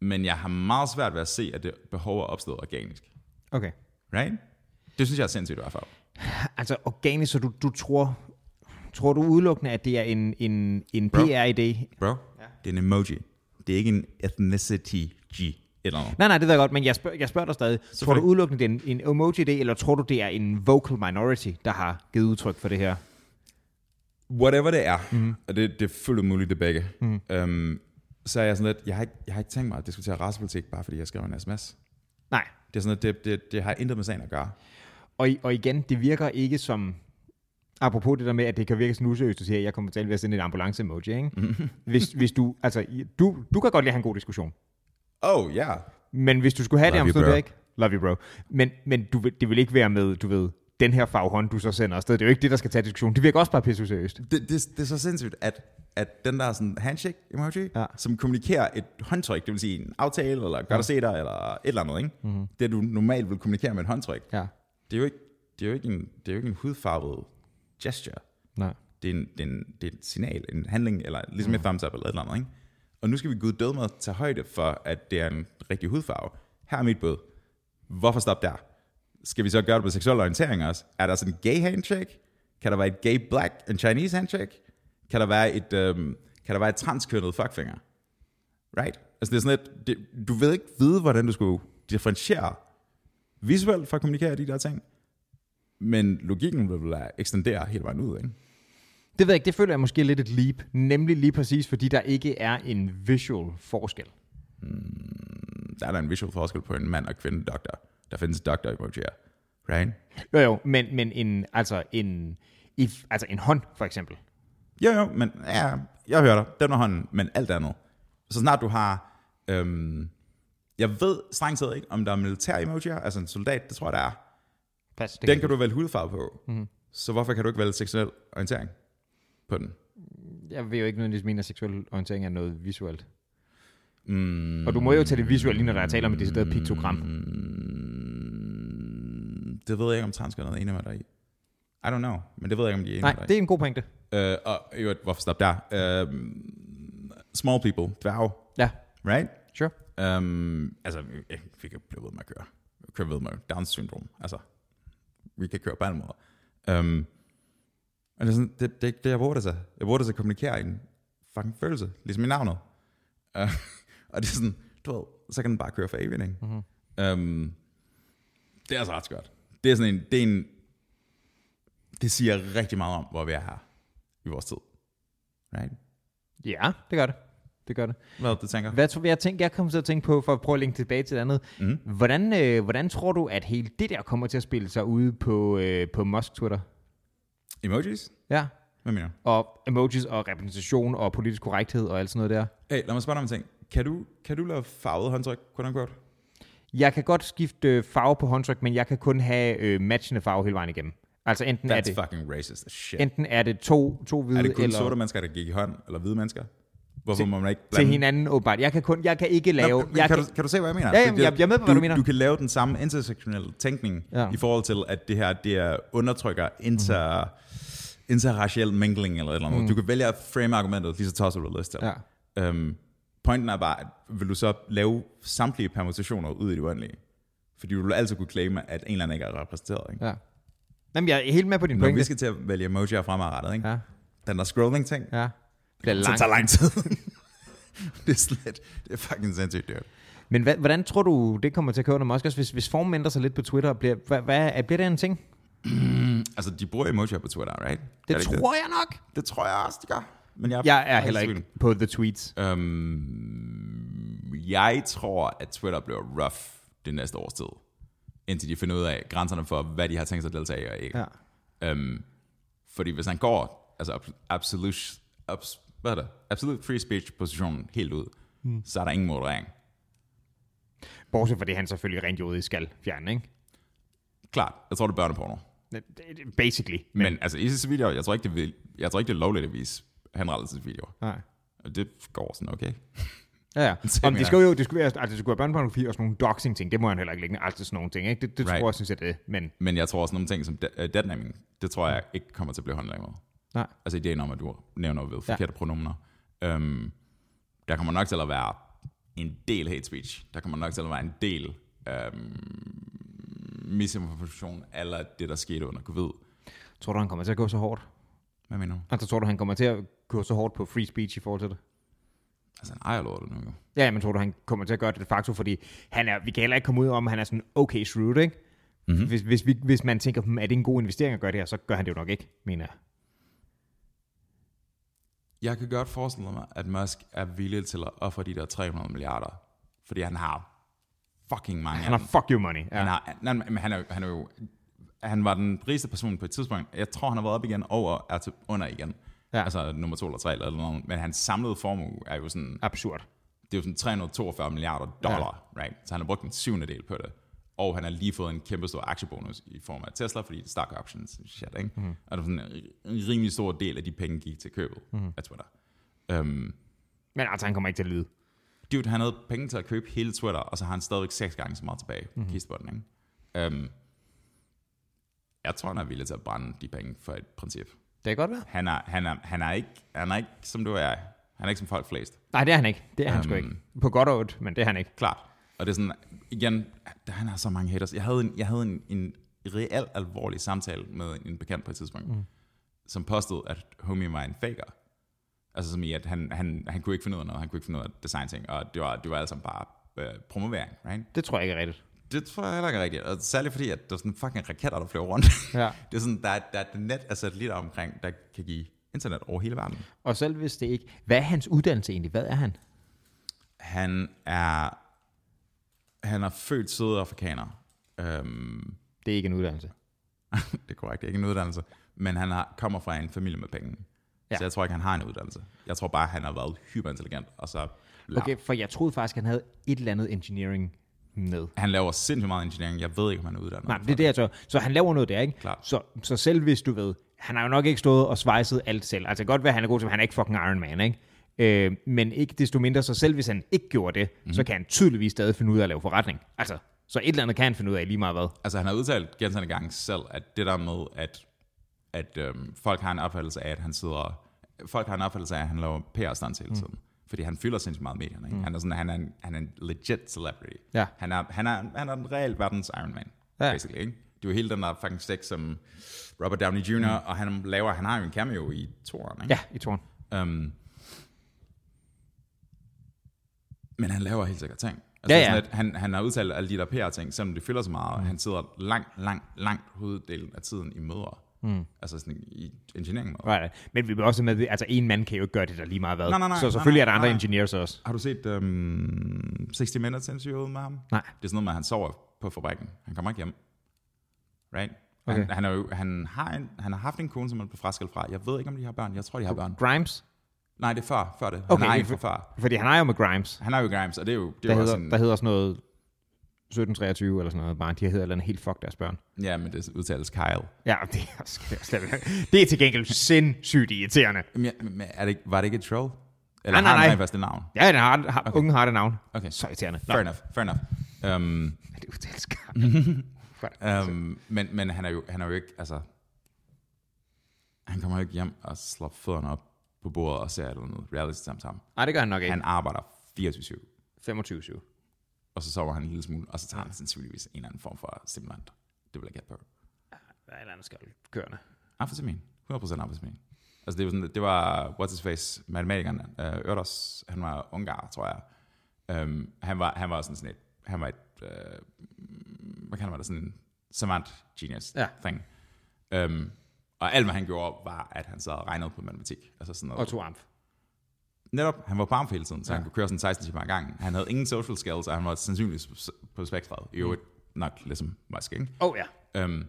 Speaker 1: Men jeg har meget svært ved at se, at det behov er opstået organisk.
Speaker 2: Okay.
Speaker 1: Right? Det synes jeg er sindssygt i hvert fald.
Speaker 2: Altså organisk, så du, du tror, tror du udelukkende, at det er en, en, en
Speaker 1: Bro.
Speaker 2: PR-idé?
Speaker 1: Bro, ja. det er en emoji. Det er ikke en ethnicity G. Et eller andet.
Speaker 2: Nej, nej, det ved jeg godt, men jeg, spørg, jeg spørger dig stadig. Tror du
Speaker 1: Selvfølgelig.
Speaker 2: udelukkende, det er en, en emoji-idé, eller tror du, det er en vocal minority, der har givet udtryk for det her?
Speaker 1: whatever det er, mm. og det, det er fuldt muligt det begge, mm. øhm, så er jeg sådan lidt, jeg har, ikke, jeg har ikke tænkt mig at diskutere racepolitik, bare fordi jeg skriver en sms.
Speaker 2: Nej.
Speaker 1: Det er sådan lidt, det, det, det har intet med sagen at gøre.
Speaker 2: Og, i- og igen, det virker ikke som... Apropos det der med, at det kan virke sådan useriøst, at sige, at jeg kommer til at ved at sende en ambulance-emoji, ikke? Mm-hmm. Hvis, hvis du... Altså, i- du, du kan godt lige have en god diskussion.
Speaker 1: Oh, ja. Yeah.
Speaker 2: Men hvis du skulle have
Speaker 1: Love
Speaker 2: det,
Speaker 1: you,
Speaker 2: om det
Speaker 1: bro.
Speaker 2: ikke... Love you, bro. Men, men du, vil- det vil ikke være med, du ved, den her faghånd, du så sender afsted. Det er jo ikke det, der skal tage diskussion. Det virker også bare pisse useriøst.
Speaker 1: Det, det, det er så sindssygt, at, at den der sådan handshake emoji,
Speaker 2: Ja.
Speaker 1: ja. som kommunikerer et håndtryk, det vil sige en aftale, eller godt at se dig, eller et eller andet, ikke? Mm-hmm. det du normalt vil kommunikere med et håndtryk,
Speaker 2: Mhm. Ja.
Speaker 1: det er jo ikke, det er jo ikke, en, det er jo ikke en hudfarvet gesture.
Speaker 2: Nej.
Speaker 1: det er, en, det, er en, det er et signal, en handling, eller ligesom mm. et thumbs up eller et eller andet. Ikke? Og nu skal vi gud døde med at tage højde for, at det er en rigtig hudfarve. Her er mit bud. Hvorfor stoppe der? Skal vi så gøre det på seksuel orientering også? Er der sådan en gay handshake? Kan der være et gay black and Chinese handshake? Kan der være et, øhm, kan der være et transkønnet fuckfinger? Right? Altså det er sådan et, det, du ved ikke vide, hvordan du skulle differentiere visuelt for at kommunikere de der ting. Men logikken vil vel ekstendere hele vejen ud, ikke?
Speaker 2: Det ved jeg ikke, det føler jeg måske er lidt et leap. Nemlig lige præcis, fordi der ikke er en visual forskel.
Speaker 1: der er der en visual forskel på en mand og kvinde doktor. Der findes doktor emojier. Right?
Speaker 2: Jo jo, men, men en, altså, en, if, altså en hånd for eksempel.
Speaker 1: Jo, jo, men ja, jeg hører dig. Den er hånden, men alt andet. Så snart du har... Øhm, jeg ved strengt taget ikke, om der er militær emojier, altså en soldat, det tror jeg, der er.
Speaker 2: Pas, det
Speaker 1: Den kan du vælge hudfarve på.
Speaker 2: Mhm.
Speaker 1: Mm-hmm. Så hvorfor kan du ikke vælge seksuel orientering på den?
Speaker 2: Jeg vil jo ikke nødvendigvis mene, at seksuel orientering er noget visuelt.
Speaker 1: Mm,
Speaker 2: Og du må jo tage det visuelt, lige når der er tale om et decideret piktogram.
Speaker 1: Mm. det ved jeg ikke, om transkønnede er enige med dig i. I don't know, men det ved jeg ikke, om de er enige
Speaker 2: Nej,
Speaker 1: med dig i.
Speaker 2: det er en god pointe.
Speaker 1: Øh, og i øvrigt, hvorfor stop der? Øh, small people, dværge,
Speaker 2: Ja,
Speaker 1: right?
Speaker 2: sure.
Speaker 1: Um, altså, jeg vi kan blive ved med at køre. Køre ved med Downs syndrom. Altså, vi kan køre på alle måder. Um, og det er sådan, det, det, det jeg bruger det til. Jeg bruger det til at kommunikere en fucking følelse, ligesom i navnet. Uh, (laughs) og det er sådan, du ved, så kan den bare køre for evigt, ikke? Mm-hmm. Um, det er altså ret skørt. Det er sådan en, det er en, det siger rigtig meget om, hvor vi er her i vores tid. Right?
Speaker 2: Ja, det gør det. Det gør det.
Speaker 1: Hvad du tænker?
Speaker 2: Hvad tror jeg tænkte, jeg kom til at tænke på, for at prøve at linke tilbage til det andet. Mm.
Speaker 1: Mhm.
Speaker 2: Hvordan, øh, hvordan tror du, at hele det der kommer til at spille sig ude på, øh, på Musk Twitter?
Speaker 1: Emojis?
Speaker 2: Ja,
Speaker 1: Hvad mener du?
Speaker 2: og emojis og repræsentation og politisk korrekthed og alt sådan noget der.
Speaker 1: Hey, lad mig spørge dig om en ting. Kan du, kan du lave farvet håndtryk, quote unquote?
Speaker 2: Jeg kan godt skifte øh, farve på håndtryk, men jeg kan kun have øh, matchende farve hele vejen igennem. Altså enten er
Speaker 1: That's
Speaker 2: det,
Speaker 1: fucking racist as shit.
Speaker 2: enten er det to, to hvide
Speaker 1: er det kun
Speaker 2: eller
Speaker 1: eller... sorte mennesker, der gik i hånd, eller hvide mennesker? Hvorfor må man ikke blande
Speaker 2: til hinanden åbenbart. Jeg kan, kun, jeg kan ikke lave...
Speaker 1: Nå, men
Speaker 2: jeg
Speaker 1: kan, du, kan du se, hvad jeg mener?
Speaker 2: Ja, jamen,
Speaker 1: Det-
Speaker 2: jeg- jeg er med på, hvad du mener.
Speaker 1: Du kan lave den samme intersektionelle tænkning
Speaker 2: Ja.
Speaker 1: ja. i forhold til, at det her det er undertrykker inter, mm.
Speaker 2: Mhm.
Speaker 1: interracial mingling eller et eller andet. Mm. Du kan vælge at frame argumentet lige så tosset, du har lyst til.
Speaker 2: Ja.
Speaker 1: Øhm, Pointen er bare, at vil du så lave samtlige permutationer ud i det uendelige? Fordi du vil altid kunne claime, at en eller anden ikke er repræsenteret. Ikke?
Speaker 2: Ja. Jamen, jeg er helt med på din
Speaker 1: Når vi
Speaker 2: pointe.
Speaker 1: skal til at vælge emojier fremadrettet, ikke?
Speaker 2: Ja,
Speaker 1: den der scrolling-ting,
Speaker 2: ja. Det bliver
Speaker 1: så
Speaker 2: langt.
Speaker 1: tager lang tid. (laughs) det er slet, det er fucking sindssygt, dude.
Speaker 2: Men hvad, hvordan tror du, det kommer til at køre under Musk? Også hvis, hvis formen ændrer sig lidt på Twitter, bliver, hvad, hvad, er- bliver det en ting?
Speaker 1: Altså, de bruger emojier på Twitter, right?
Speaker 2: Det
Speaker 1: Gør de ikke
Speaker 2: tror jeg nok.
Speaker 1: det? det tror jeg også, de gør. Men jeg,
Speaker 2: Jeg er heller ikke på the tweets.
Speaker 1: Øhm, jeg tror, at Twitter bliver rough det næste års tid, indtil de finder ud af grænserne for, hvad de har tænkt sig at deltage i og ikke.
Speaker 2: Ja.
Speaker 1: Øhm, fordi hvis han går, altså ab- absolute, abs, hvad er det? absolute free speech positionen helt ud,
Speaker 2: Hmm.
Speaker 1: mm. så er der ingen moderering.
Speaker 2: Bortset fra det, han selvfølgelig rent juridisk skal fjerne, ikke?
Speaker 1: Klart, jeg tror, det er børneporno.
Speaker 2: Basically.
Speaker 1: Men, Men altså, i sidste video, jeg tror ikke, det, vil, jeg tror ikke, det er lovligt at vise henrettelsesvideoer.
Speaker 2: Nej.
Speaker 1: Og det går sådan okay.
Speaker 2: Ja, ja.
Speaker 1: Det
Speaker 2: Om
Speaker 1: mener
Speaker 2: det skal jo, det skulle være, altså, det skulle være børnepornografi og sådan nogle doxing-ting. Det må han heller ikke lægge. Altså sådan nogle ting, ikke? Det, det
Speaker 1: Right.
Speaker 2: tror jeg, synes jeg, det er. Men
Speaker 1: Men jeg tror også nogle ting som de- øh, deadnaming, det tror jeg ikke kommer til at blive håndlaget med.
Speaker 2: nej.
Speaker 1: altså ideen om, at du nævner ved forkerte ja. pronomener. Øhm, der kommer nok til at være en del hate speech. Der kommer nok til at være en del øhm, misinformation, eller det, der skete under covid.
Speaker 2: Tror du, han kommer til at gå så hårdt?
Speaker 1: Hvad mener du?
Speaker 2: Altså, tror du, han kommer til at gå så hårdt på free speech i forhold til det?
Speaker 1: Altså, han ejer lortet nu jo.
Speaker 2: Ja, men tror du, han kommer til at gøre det de facto, fordi han er, vi kan heller ikke komme ud om, at han er sådan okay shrewd, ikke? Mm-hmm. Hvis, hvis, vi, hvis man tænker, hmm, er det en god investering at gøre det her, så gør han det jo nok ikke, mener jeg.
Speaker 1: Jeg kan godt forestille mig, at Musk er villig til at ofre de der 300 milliarder, fordi han har fucking mange
Speaker 2: Han har fuck you money.
Speaker 1: Han,
Speaker 2: Ja.
Speaker 1: har, nej, men han, er, jo- han er jo han var den rigeste person på et tidspunkt. Jeg tror, han har været op igen over er til under igen.
Speaker 2: Ja.
Speaker 1: Ja. Altså nummer to eller tre eller noget. Men hans samlede formue er jo sådan,
Speaker 2: Absurd.
Speaker 1: det er jo sådan 342 milliarder dollar, ja. right? Så han har brugt en syvende del på det. Og han har lige fået en kæmpe stor aktiebonus i form af Tesla, fordi det er stock options og shit, ikke? Mm. Og det er sådan en en rimelig stor del af de penge gik til købet mm. af Twitter. Um,
Speaker 2: Men altså, han kommer ikke til at lide.
Speaker 1: dude, han havde penge til at købe hele Twitter, og så har han stadigvæk seks gange så meget tilbage mm-hmm. kistebunden, ikke? Um, jeg tror, han er villig til at brænde de penge for et princip.
Speaker 2: Det kan godt være.
Speaker 1: Han er, han er, han er, ikke, han er ikke som du og jeg. Han er ikke som folk flest.
Speaker 2: Nej, det er han ikke. Det er han sgu
Speaker 1: Øhm.
Speaker 2: ikke. På godt og ondt, men det er han ikke.
Speaker 1: Klart. Og det er sådan, igen, han har så mange haters. Jeg havde en, jeg havde en, en reel alvorlig samtale med en bekendt på et tidspunkt, mm. som påstod, at homie var en faker. Altså som i, at han, han, han kunne ikke finde ud af noget, han kunne ikke finde ud af design-ting, og det var, det var altså bare øh, promovering, right?
Speaker 2: Det tror jeg ikke er rigtigt.
Speaker 1: Det tror jeg heller ikke er rigtigt. Og særligt fordi, at der er sådan fucking raketter, der flyver rundt.
Speaker 2: Ja.
Speaker 1: det er sådan, der er, der er et net af satellitter omkring, der kan give internet over hele verden.
Speaker 2: Og selv hvis det ikke... Hvad er hans uddannelse egentlig? Hvad er han?
Speaker 1: Han er, han er født sydafrikaner. Øhm,
Speaker 2: Det er ikke en uddannelse.
Speaker 1: det er korrekt, det er ikke en uddannelse. Men han har, kommer fra en familie med penge.
Speaker 2: Ja.
Speaker 1: Ja. Så jeg tror ikke, han har en uddannelse. Jeg tror bare, han har været hyperintelligent, og så...
Speaker 2: Okay, for jeg troede faktisk, han havde et eller andet engineering med.
Speaker 1: Han laver sindssygt meget engineering. Jeg ved ikke, om han er uddannet.
Speaker 2: Nej, det er det, jeg tror. Så han laver noget der, ikke?
Speaker 1: Klart.
Speaker 2: Så, så selv hvis du ved, han har jo nok ikke stået og svejset alt selv. Altså godt være, han er god til, men han er ikke fucking Iron Man, ikke? Øh, men ikke desto mindre, så selv hvis han ikke gjorde det,
Speaker 1: Mhm.
Speaker 2: mm-hmm. så kan han tydeligvis stadig finde ud af at lave forretning. Altså, så et eller andet kan han finde ud af lige meget hvad.
Speaker 1: altså han har udtalt gentagende gange selv, at det der med, at, at øhm, folk har en opfattelse af, at han sidder... Folk har en opfattelse af, at han laver pr stunts hele tiden. Mm. Fordi han fylder sindssygt meget i medierne. Ikke? Mm. Han, er sådan, han, er en, han er en legit celebrity.
Speaker 2: Ja.
Speaker 1: Han, er, han, er, han er den reelt verdens Iron Man,
Speaker 2: Ja.
Speaker 1: ja. basically. Ikke? Det er jo hele den der fucking stik, som Robert Downey Jr., mm. og han laver, han har jo en cameo i toren, ikke?
Speaker 2: Ja, i tårn.
Speaker 1: Ja. Um, men han laver helt sikkert ting.
Speaker 2: Ja,
Speaker 1: Altså, det er
Speaker 2: ja. Mm.
Speaker 1: Sådan, at han, han har udtalt alle de der PR-ting, selvom det fylder så meget, og han sidder langt, langt, langt hoveddelen af tiden i møder. Mm. Altså sådan i engineering møder.
Speaker 2: Right. right. Men vi vil også med, altså en mand kan jo ikke gøre det der lige meget hvad.
Speaker 1: Nej, nej, nej,
Speaker 2: så selvfølgelig
Speaker 1: nej,
Speaker 2: er der andre
Speaker 1: nej.
Speaker 2: engineers også.
Speaker 1: Har du set um, 60 Minutes interviewet med ham?
Speaker 2: Nej.
Speaker 1: Det er sådan noget med, at han sover på fabrikken. Han kommer ikke hjem. Right?
Speaker 2: Okay.
Speaker 1: Okay. Han, han, er jo, han, har en, han har haft en kone, som han blev fraskilt fra. Jeg ved ikke, om de har børn. Jeg tror, de har børn.
Speaker 2: Grimes?
Speaker 1: Nej, det er før, før det. Han
Speaker 2: Okay,
Speaker 1: okay, har en
Speaker 2: det er
Speaker 1: fra
Speaker 2: for-
Speaker 1: før.
Speaker 2: Fordi han er jo med Grimes.
Speaker 1: Han har jo Grimes, og det er jo, det
Speaker 2: Der
Speaker 1: er jo
Speaker 2: hedder,
Speaker 1: også
Speaker 2: en...
Speaker 1: en,
Speaker 2: der hedder sådan noget 1723 eller sådan noget. Bare, de hedder et eller andet helt fuck deres børn.
Speaker 1: Ja, men det udtales Kyle.
Speaker 2: Ja, (laughs) det er, slet, slet, det er til gengæld sindssygt irriterende.
Speaker 1: Jamen, ja, men er det, ikke- var det ikke et troll?
Speaker 2: Nej,
Speaker 1: Eller
Speaker 2: Ah, nej,
Speaker 1: har han
Speaker 2: nej.
Speaker 1: rent faktisk et navn?
Speaker 2: Ja, den har, har okay. unge har det navn.
Speaker 1: Okay.
Speaker 2: Så irriterende. Nå,
Speaker 1: Fair enough, fair enough. Um,
Speaker 2: det er udtales Mhm.
Speaker 1: um, men, men han er jo, han er jo ikke, altså... Han kommer jo ikke hjem og slår fødderne op på bordet og ser et eller andet reality sammen.
Speaker 2: Nej, det gør han nok ikke.
Speaker 1: Han arbejder 24-7.
Speaker 2: 25-7.
Speaker 1: Og så sover han en lille smule, og så tager han sandsynligvis en eller anden form for stimulant. Det vil jeg gætte på.
Speaker 2: Der er et eller andet skald kørende.
Speaker 1: Amfetamin. 100% amfetamin. Altså det var, sådan, det var what's his face, matematikeren, øh, Ørdos, han var ungar, tror jeg. Øhm, han, var, han var sådan sådan et, han var et, øh, hvad kalder man det, sådan en savant genius
Speaker 2: Ja.
Speaker 1: thing. Øhm, og alt, hvad han gjorde, var, at han sad og regnede på matematik. Altså sådan noget.
Speaker 2: Og to amf.
Speaker 1: Netop, han var på arm hele tiden, så ja.
Speaker 2: Ja.
Speaker 1: han kunne køre sådan 16 timer ad gangen. Han havde ingen social skills, og han var sandsynligvis på spektret. I øvrigt nok ligesom Musk, ikke?
Speaker 2: Åh oh, ja.
Speaker 1: Øhm,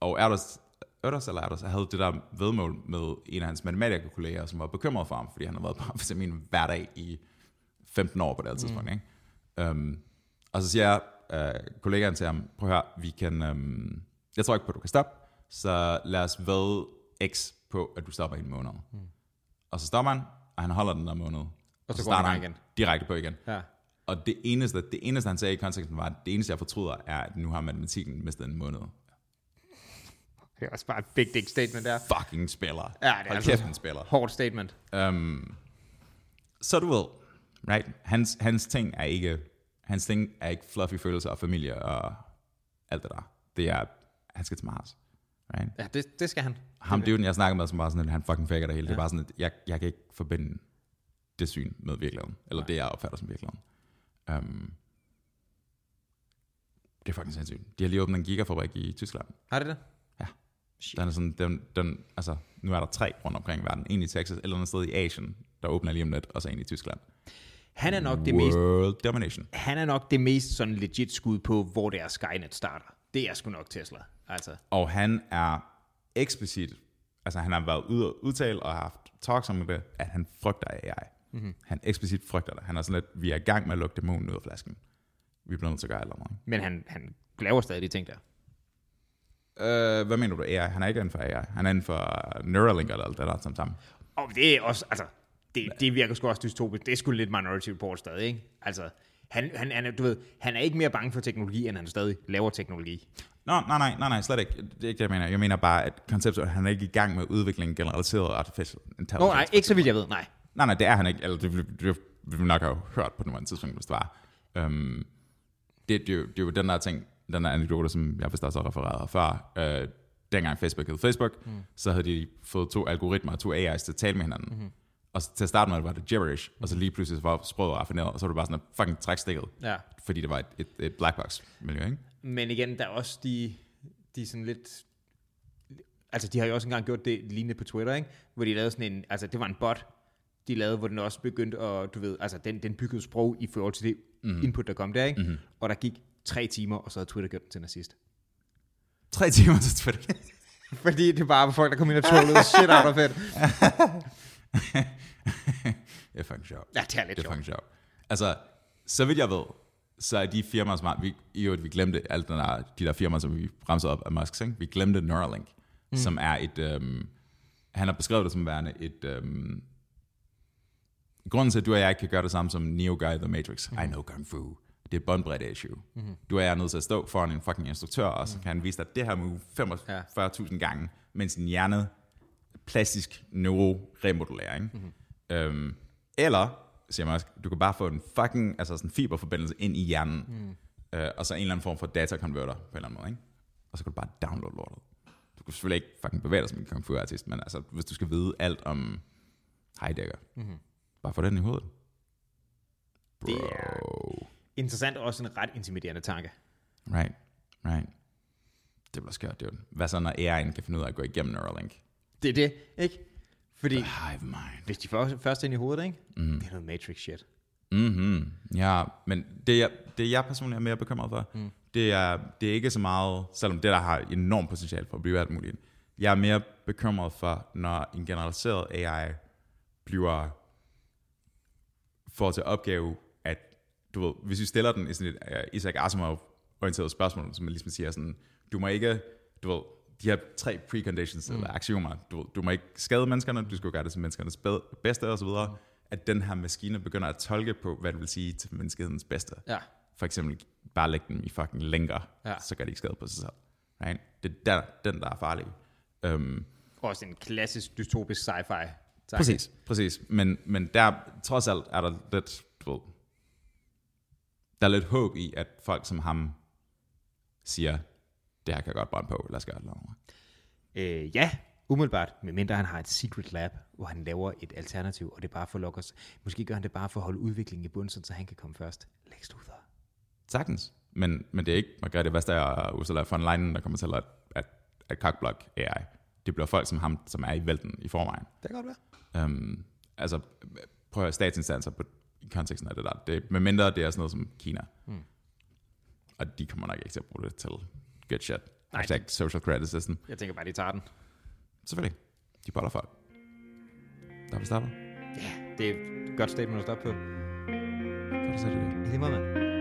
Speaker 1: og Erdos, Erdos eller Erdos havde det der vedmål med en af hans matematikerkolleger, som var bekymret for ham, fordi han havde været på (laughs) amfetamin hver dag i 15 år på det her tidspunkt. Mm. Ikke? Øhm, og så siger øh, kollegaen til ham, prøv at høre, vi kan, øhm, jeg tror ikke på, at du kan stoppe, så lad os ved X på, at du stopper i en måned. Mm. Og så stopper han, og han holder den der måned. Og,
Speaker 2: så går
Speaker 1: starter
Speaker 2: han i gang igen.
Speaker 1: direkte på igen.
Speaker 2: Ja.
Speaker 1: Og det eneste, det eneste, han sagde i konteksten var, at det eneste, jeg fortryder, er, at nu har matematikken mistet en måned.
Speaker 2: Det er også bare et big dick statement der.
Speaker 1: Fucking spiller.
Speaker 2: Ja, det er
Speaker 1: Hold
Speaker 2: altså
Speaker 1: kæft, han spiller.
Speaker 2: Hårdt statement.
Speaker 1: Um, så du ved, right? Hans, hans ting er ikke, hans ting er ikke fluffy følelser og familie og alt det der. Det er, han skal til Mars. Right?
Speaker 2: Ja, det, det skal han.
Speaker 1: Ham det er jo den, jeg snakker med, som bare sådan, at han fucking faker det hele. Ja. Det er bare sådan, at jeg, jeg kan ikke forbinde det syn med virkeligheden. Eller det, jeg opfatter som virkeligheden. Um, det er fucking sindssygt. De har lige åbnet en gigafabrik i Tyskland.
Speaker 2: Har det det?
Speaker 1: Ja.
Speaker 2: Shit.
Speaker 1: Den er sådan, den, den, altså, nu er der tre rundt omkring i verden. En i Texas, et eller andet sted i Asien, der åbner lige om lidt, og så en i Tyskland.
Speaker 2: Han er nok det mest,
Speaker 1: World domination.
Speaker 2: han er nok det mest sådan legit skud på, hvor det er Skynet starter. Det er sgu nok Tesla. Altså,
Speaker 1: Og han er eksplicit, altså han har været ude og udtale og har haft talks om det, at han frygter AI.
Speaker 2: Mhm.
Speaker 1: Mm-hmm. Han eksplicit frygter det. Han er sådan lidt, vi er i gang med at lukke dæmonen ud af flasken. Vi bliver nødt til at gøre alt andet.
Speaker 2: men han, han laver stadig de ting der.
Speaker 1: Øh, hvad mener du, AI? Han er ikke inden for AI. Han er inden for Neuralink eller alt det der sammen sammen.
Speaker 2: Og det er også, altså, det, det virker sgu også dystopisk. Det er sgu lidt Minority Report stadig, ikke? Altså, han, han, han, er- du ved, han er ikke mere bange for teknologi, end han stadig laver teknologi.
Speaker 1: Nå, nej, nej, nej, nej, slet ikke. Det er ikke det, jeg mener. Jeg mener bare, at konceptet, han er ikke i gang med udviklingen generaliseret artificial
Speaker 2: Nå,
Speaker 1: intelligence.
Speaker 2: nej, ikke så vidt jeg ved, nej.
Speaker 1: Nej, nej, det er han ikke. Eller det, det, det vi nok har hørt på nuværende tidspunkt, hvis det var. Øhm, det, det, er jo- det er jo den der ting, den der anekdote, som jeg vist også har refereret her før. Øh, dengang Facebook hed Facebook, mm. så havde de fået to algoritmer og to AI's til at tale med hinanden. Mm-hmm.
Speaker 2: Mhm.
Speaker 1: Og så til at starte med var det gibberish, og så lige pludselig så var sproget raffineret, og så var det bare sådan at fucking trække stikket,
Speaker 2: Ja.
Speaker 1: fordi det var et, et, et black box miljø, ikke?
Speaker 2: Men igen, der er også de, de sådan lidt... Altså, de har jo også engang gjort det lignende på Twitter, ikke? Hvor de lavede sådan en... Altså, det var en bot, de lavede, hvor den også begyndte at, du ved... Altså, den, den byggede sprog i forhold til det mm. input, der kom der, ikke? Mm-hmm. Og der gik tre timer, og så havde Twitter gjort den til nazist.
Speaker 1: Tre timer til Twitter.
Speaker 2: Fordi det bare var folk, der kom ind og trollede shit out of it.
Speaker 1: det er fucking sjovt.
Speaker 2: Ja, det er lidt
Speaker 1: Det er
Speaker 2: sjovt.
Speaker 1: fucking sjovt. Altså, så vidt jeg ved, så er de firmaer smart. Vi, I øvrigt, vi glemte alt den der, de der firmaer, som vi bremser op af Musk. Ikke? Vi glemte Neuralink, mm. som er et... Øhm, han har beskrevet det som værende et... Øhm, grunden til, at du og jeg ikke kan gøre det samme som Neo Guy i The Matrix. Mm. I know Kung Fu. Det er et båndbredde issue. Mm. Du og jeg er nødt til at stå foran en fucking instruktør, og så kan han vise dig det her move 45.000 gange, mens din hjerne plastisk neuroremodulering. Mm-hmm. Øhm, eller, siger man også, du kan bare få en fucking altså sådan en fiberforbindelse ind i hjernen, mm. øh, og så en eller anden form for dataconverter på en eller anden måde, ikke? og så kan du bare downloade lortet. Du kan selvfølgelig ikke fucking bevæge dig som en kung fu artist, men altså, hvis du skal vide alt om Heidegger, mm-hmm. bare få den i hovedet. Bro.
Speaker 2: Mhm. Det er- Interessant og også en ret intimiderende tanke.
Speaker 1: Right, right. Det bliver skørt, dude. Hvad så, når AI'en kan finde ud af at gå igennem Neuralink?
Speaker 2: Det er det, ikke? Fordi
Speaker 1: Hive mind.
Speaker 2: hvis de får først ind i hovedet, ikke? Mm. Det er noget Matrix shit.
Speaker 1: Mhm, ja, men det jeg, det jeg personligt er mere bekymret for, mm. det, er, det er ikke så meget, selvom det der har enormt potentiale for at blive alt muligt. Jeg er mere bekymret for, når en generaliseret AI bliver får til opgave, at du ved, hvis vi stiller den i sådan et uh, Isaac Asimov-orienteret spørgsmål, som man ligesom siger sådan, du må ikke, du ved, de her tre preconditions mm. eller aksiomer, du, ved, du må ikke skade menneskerne, du skal gøre det til menneskernes bed- bedste osv., mm. at den her maskine begynder at tolke på, hvad det vil sige til menneskehedens bedste.
Speaker 2: Ja.
Speaker 1: For eksempel bare lægge dem i fucking lænker,
Speaker 2: Ja.
Speaker 1: så gør de ikke skade på sig selv. Right? Det er der, den, der er farlig. Um,
Speaker 2: Også en klassisk dystopisk sci-fi. tanke.
Speaker 1: Præcis, præcis. Men, men der, trods alt, er der lidt, du ved, der er lidt håb i, at folk som ham siger, det her kan jeg godt brænde på, lad os gøre det noget.
Speaker 2: Øh, ja, umiddelbart, medmindre han har et secret lab, hvor han laver et alternativ, og det er bare for at lokke os. Måske gør han det bare for at holde udviklingen i bunden, sådan så han kan komme først. Lex Luthor.
Speaker 1: Sagtens. Men, men det er ikke Margrethe Vestager og Ursula von Leyen, der kommer til at, at, at cockblock AI. Det bliver folk som ham, som er i vælten i forvejen.
Speaker 2: Det kan godt være.
Speaker 1: Øhm, altså, prøv at høre, statsinstanser på, i konteksten af det der. Det, med mindre det er sådan noget som Kina. Mm. Og de kommer nok ikke til at bruge det til good shit. Hashtag social criticism.
Speaker 2: Jeg tænker bare, de tager den.
Speaker 1: Selvfølgelig. De boller folk. Der er vi starter.
Speaker 2: Ja, det er et godt statement at stoppe på.
Speaker 1: Så er det så, det. er det.
Speaker 2: I lige måde, mand.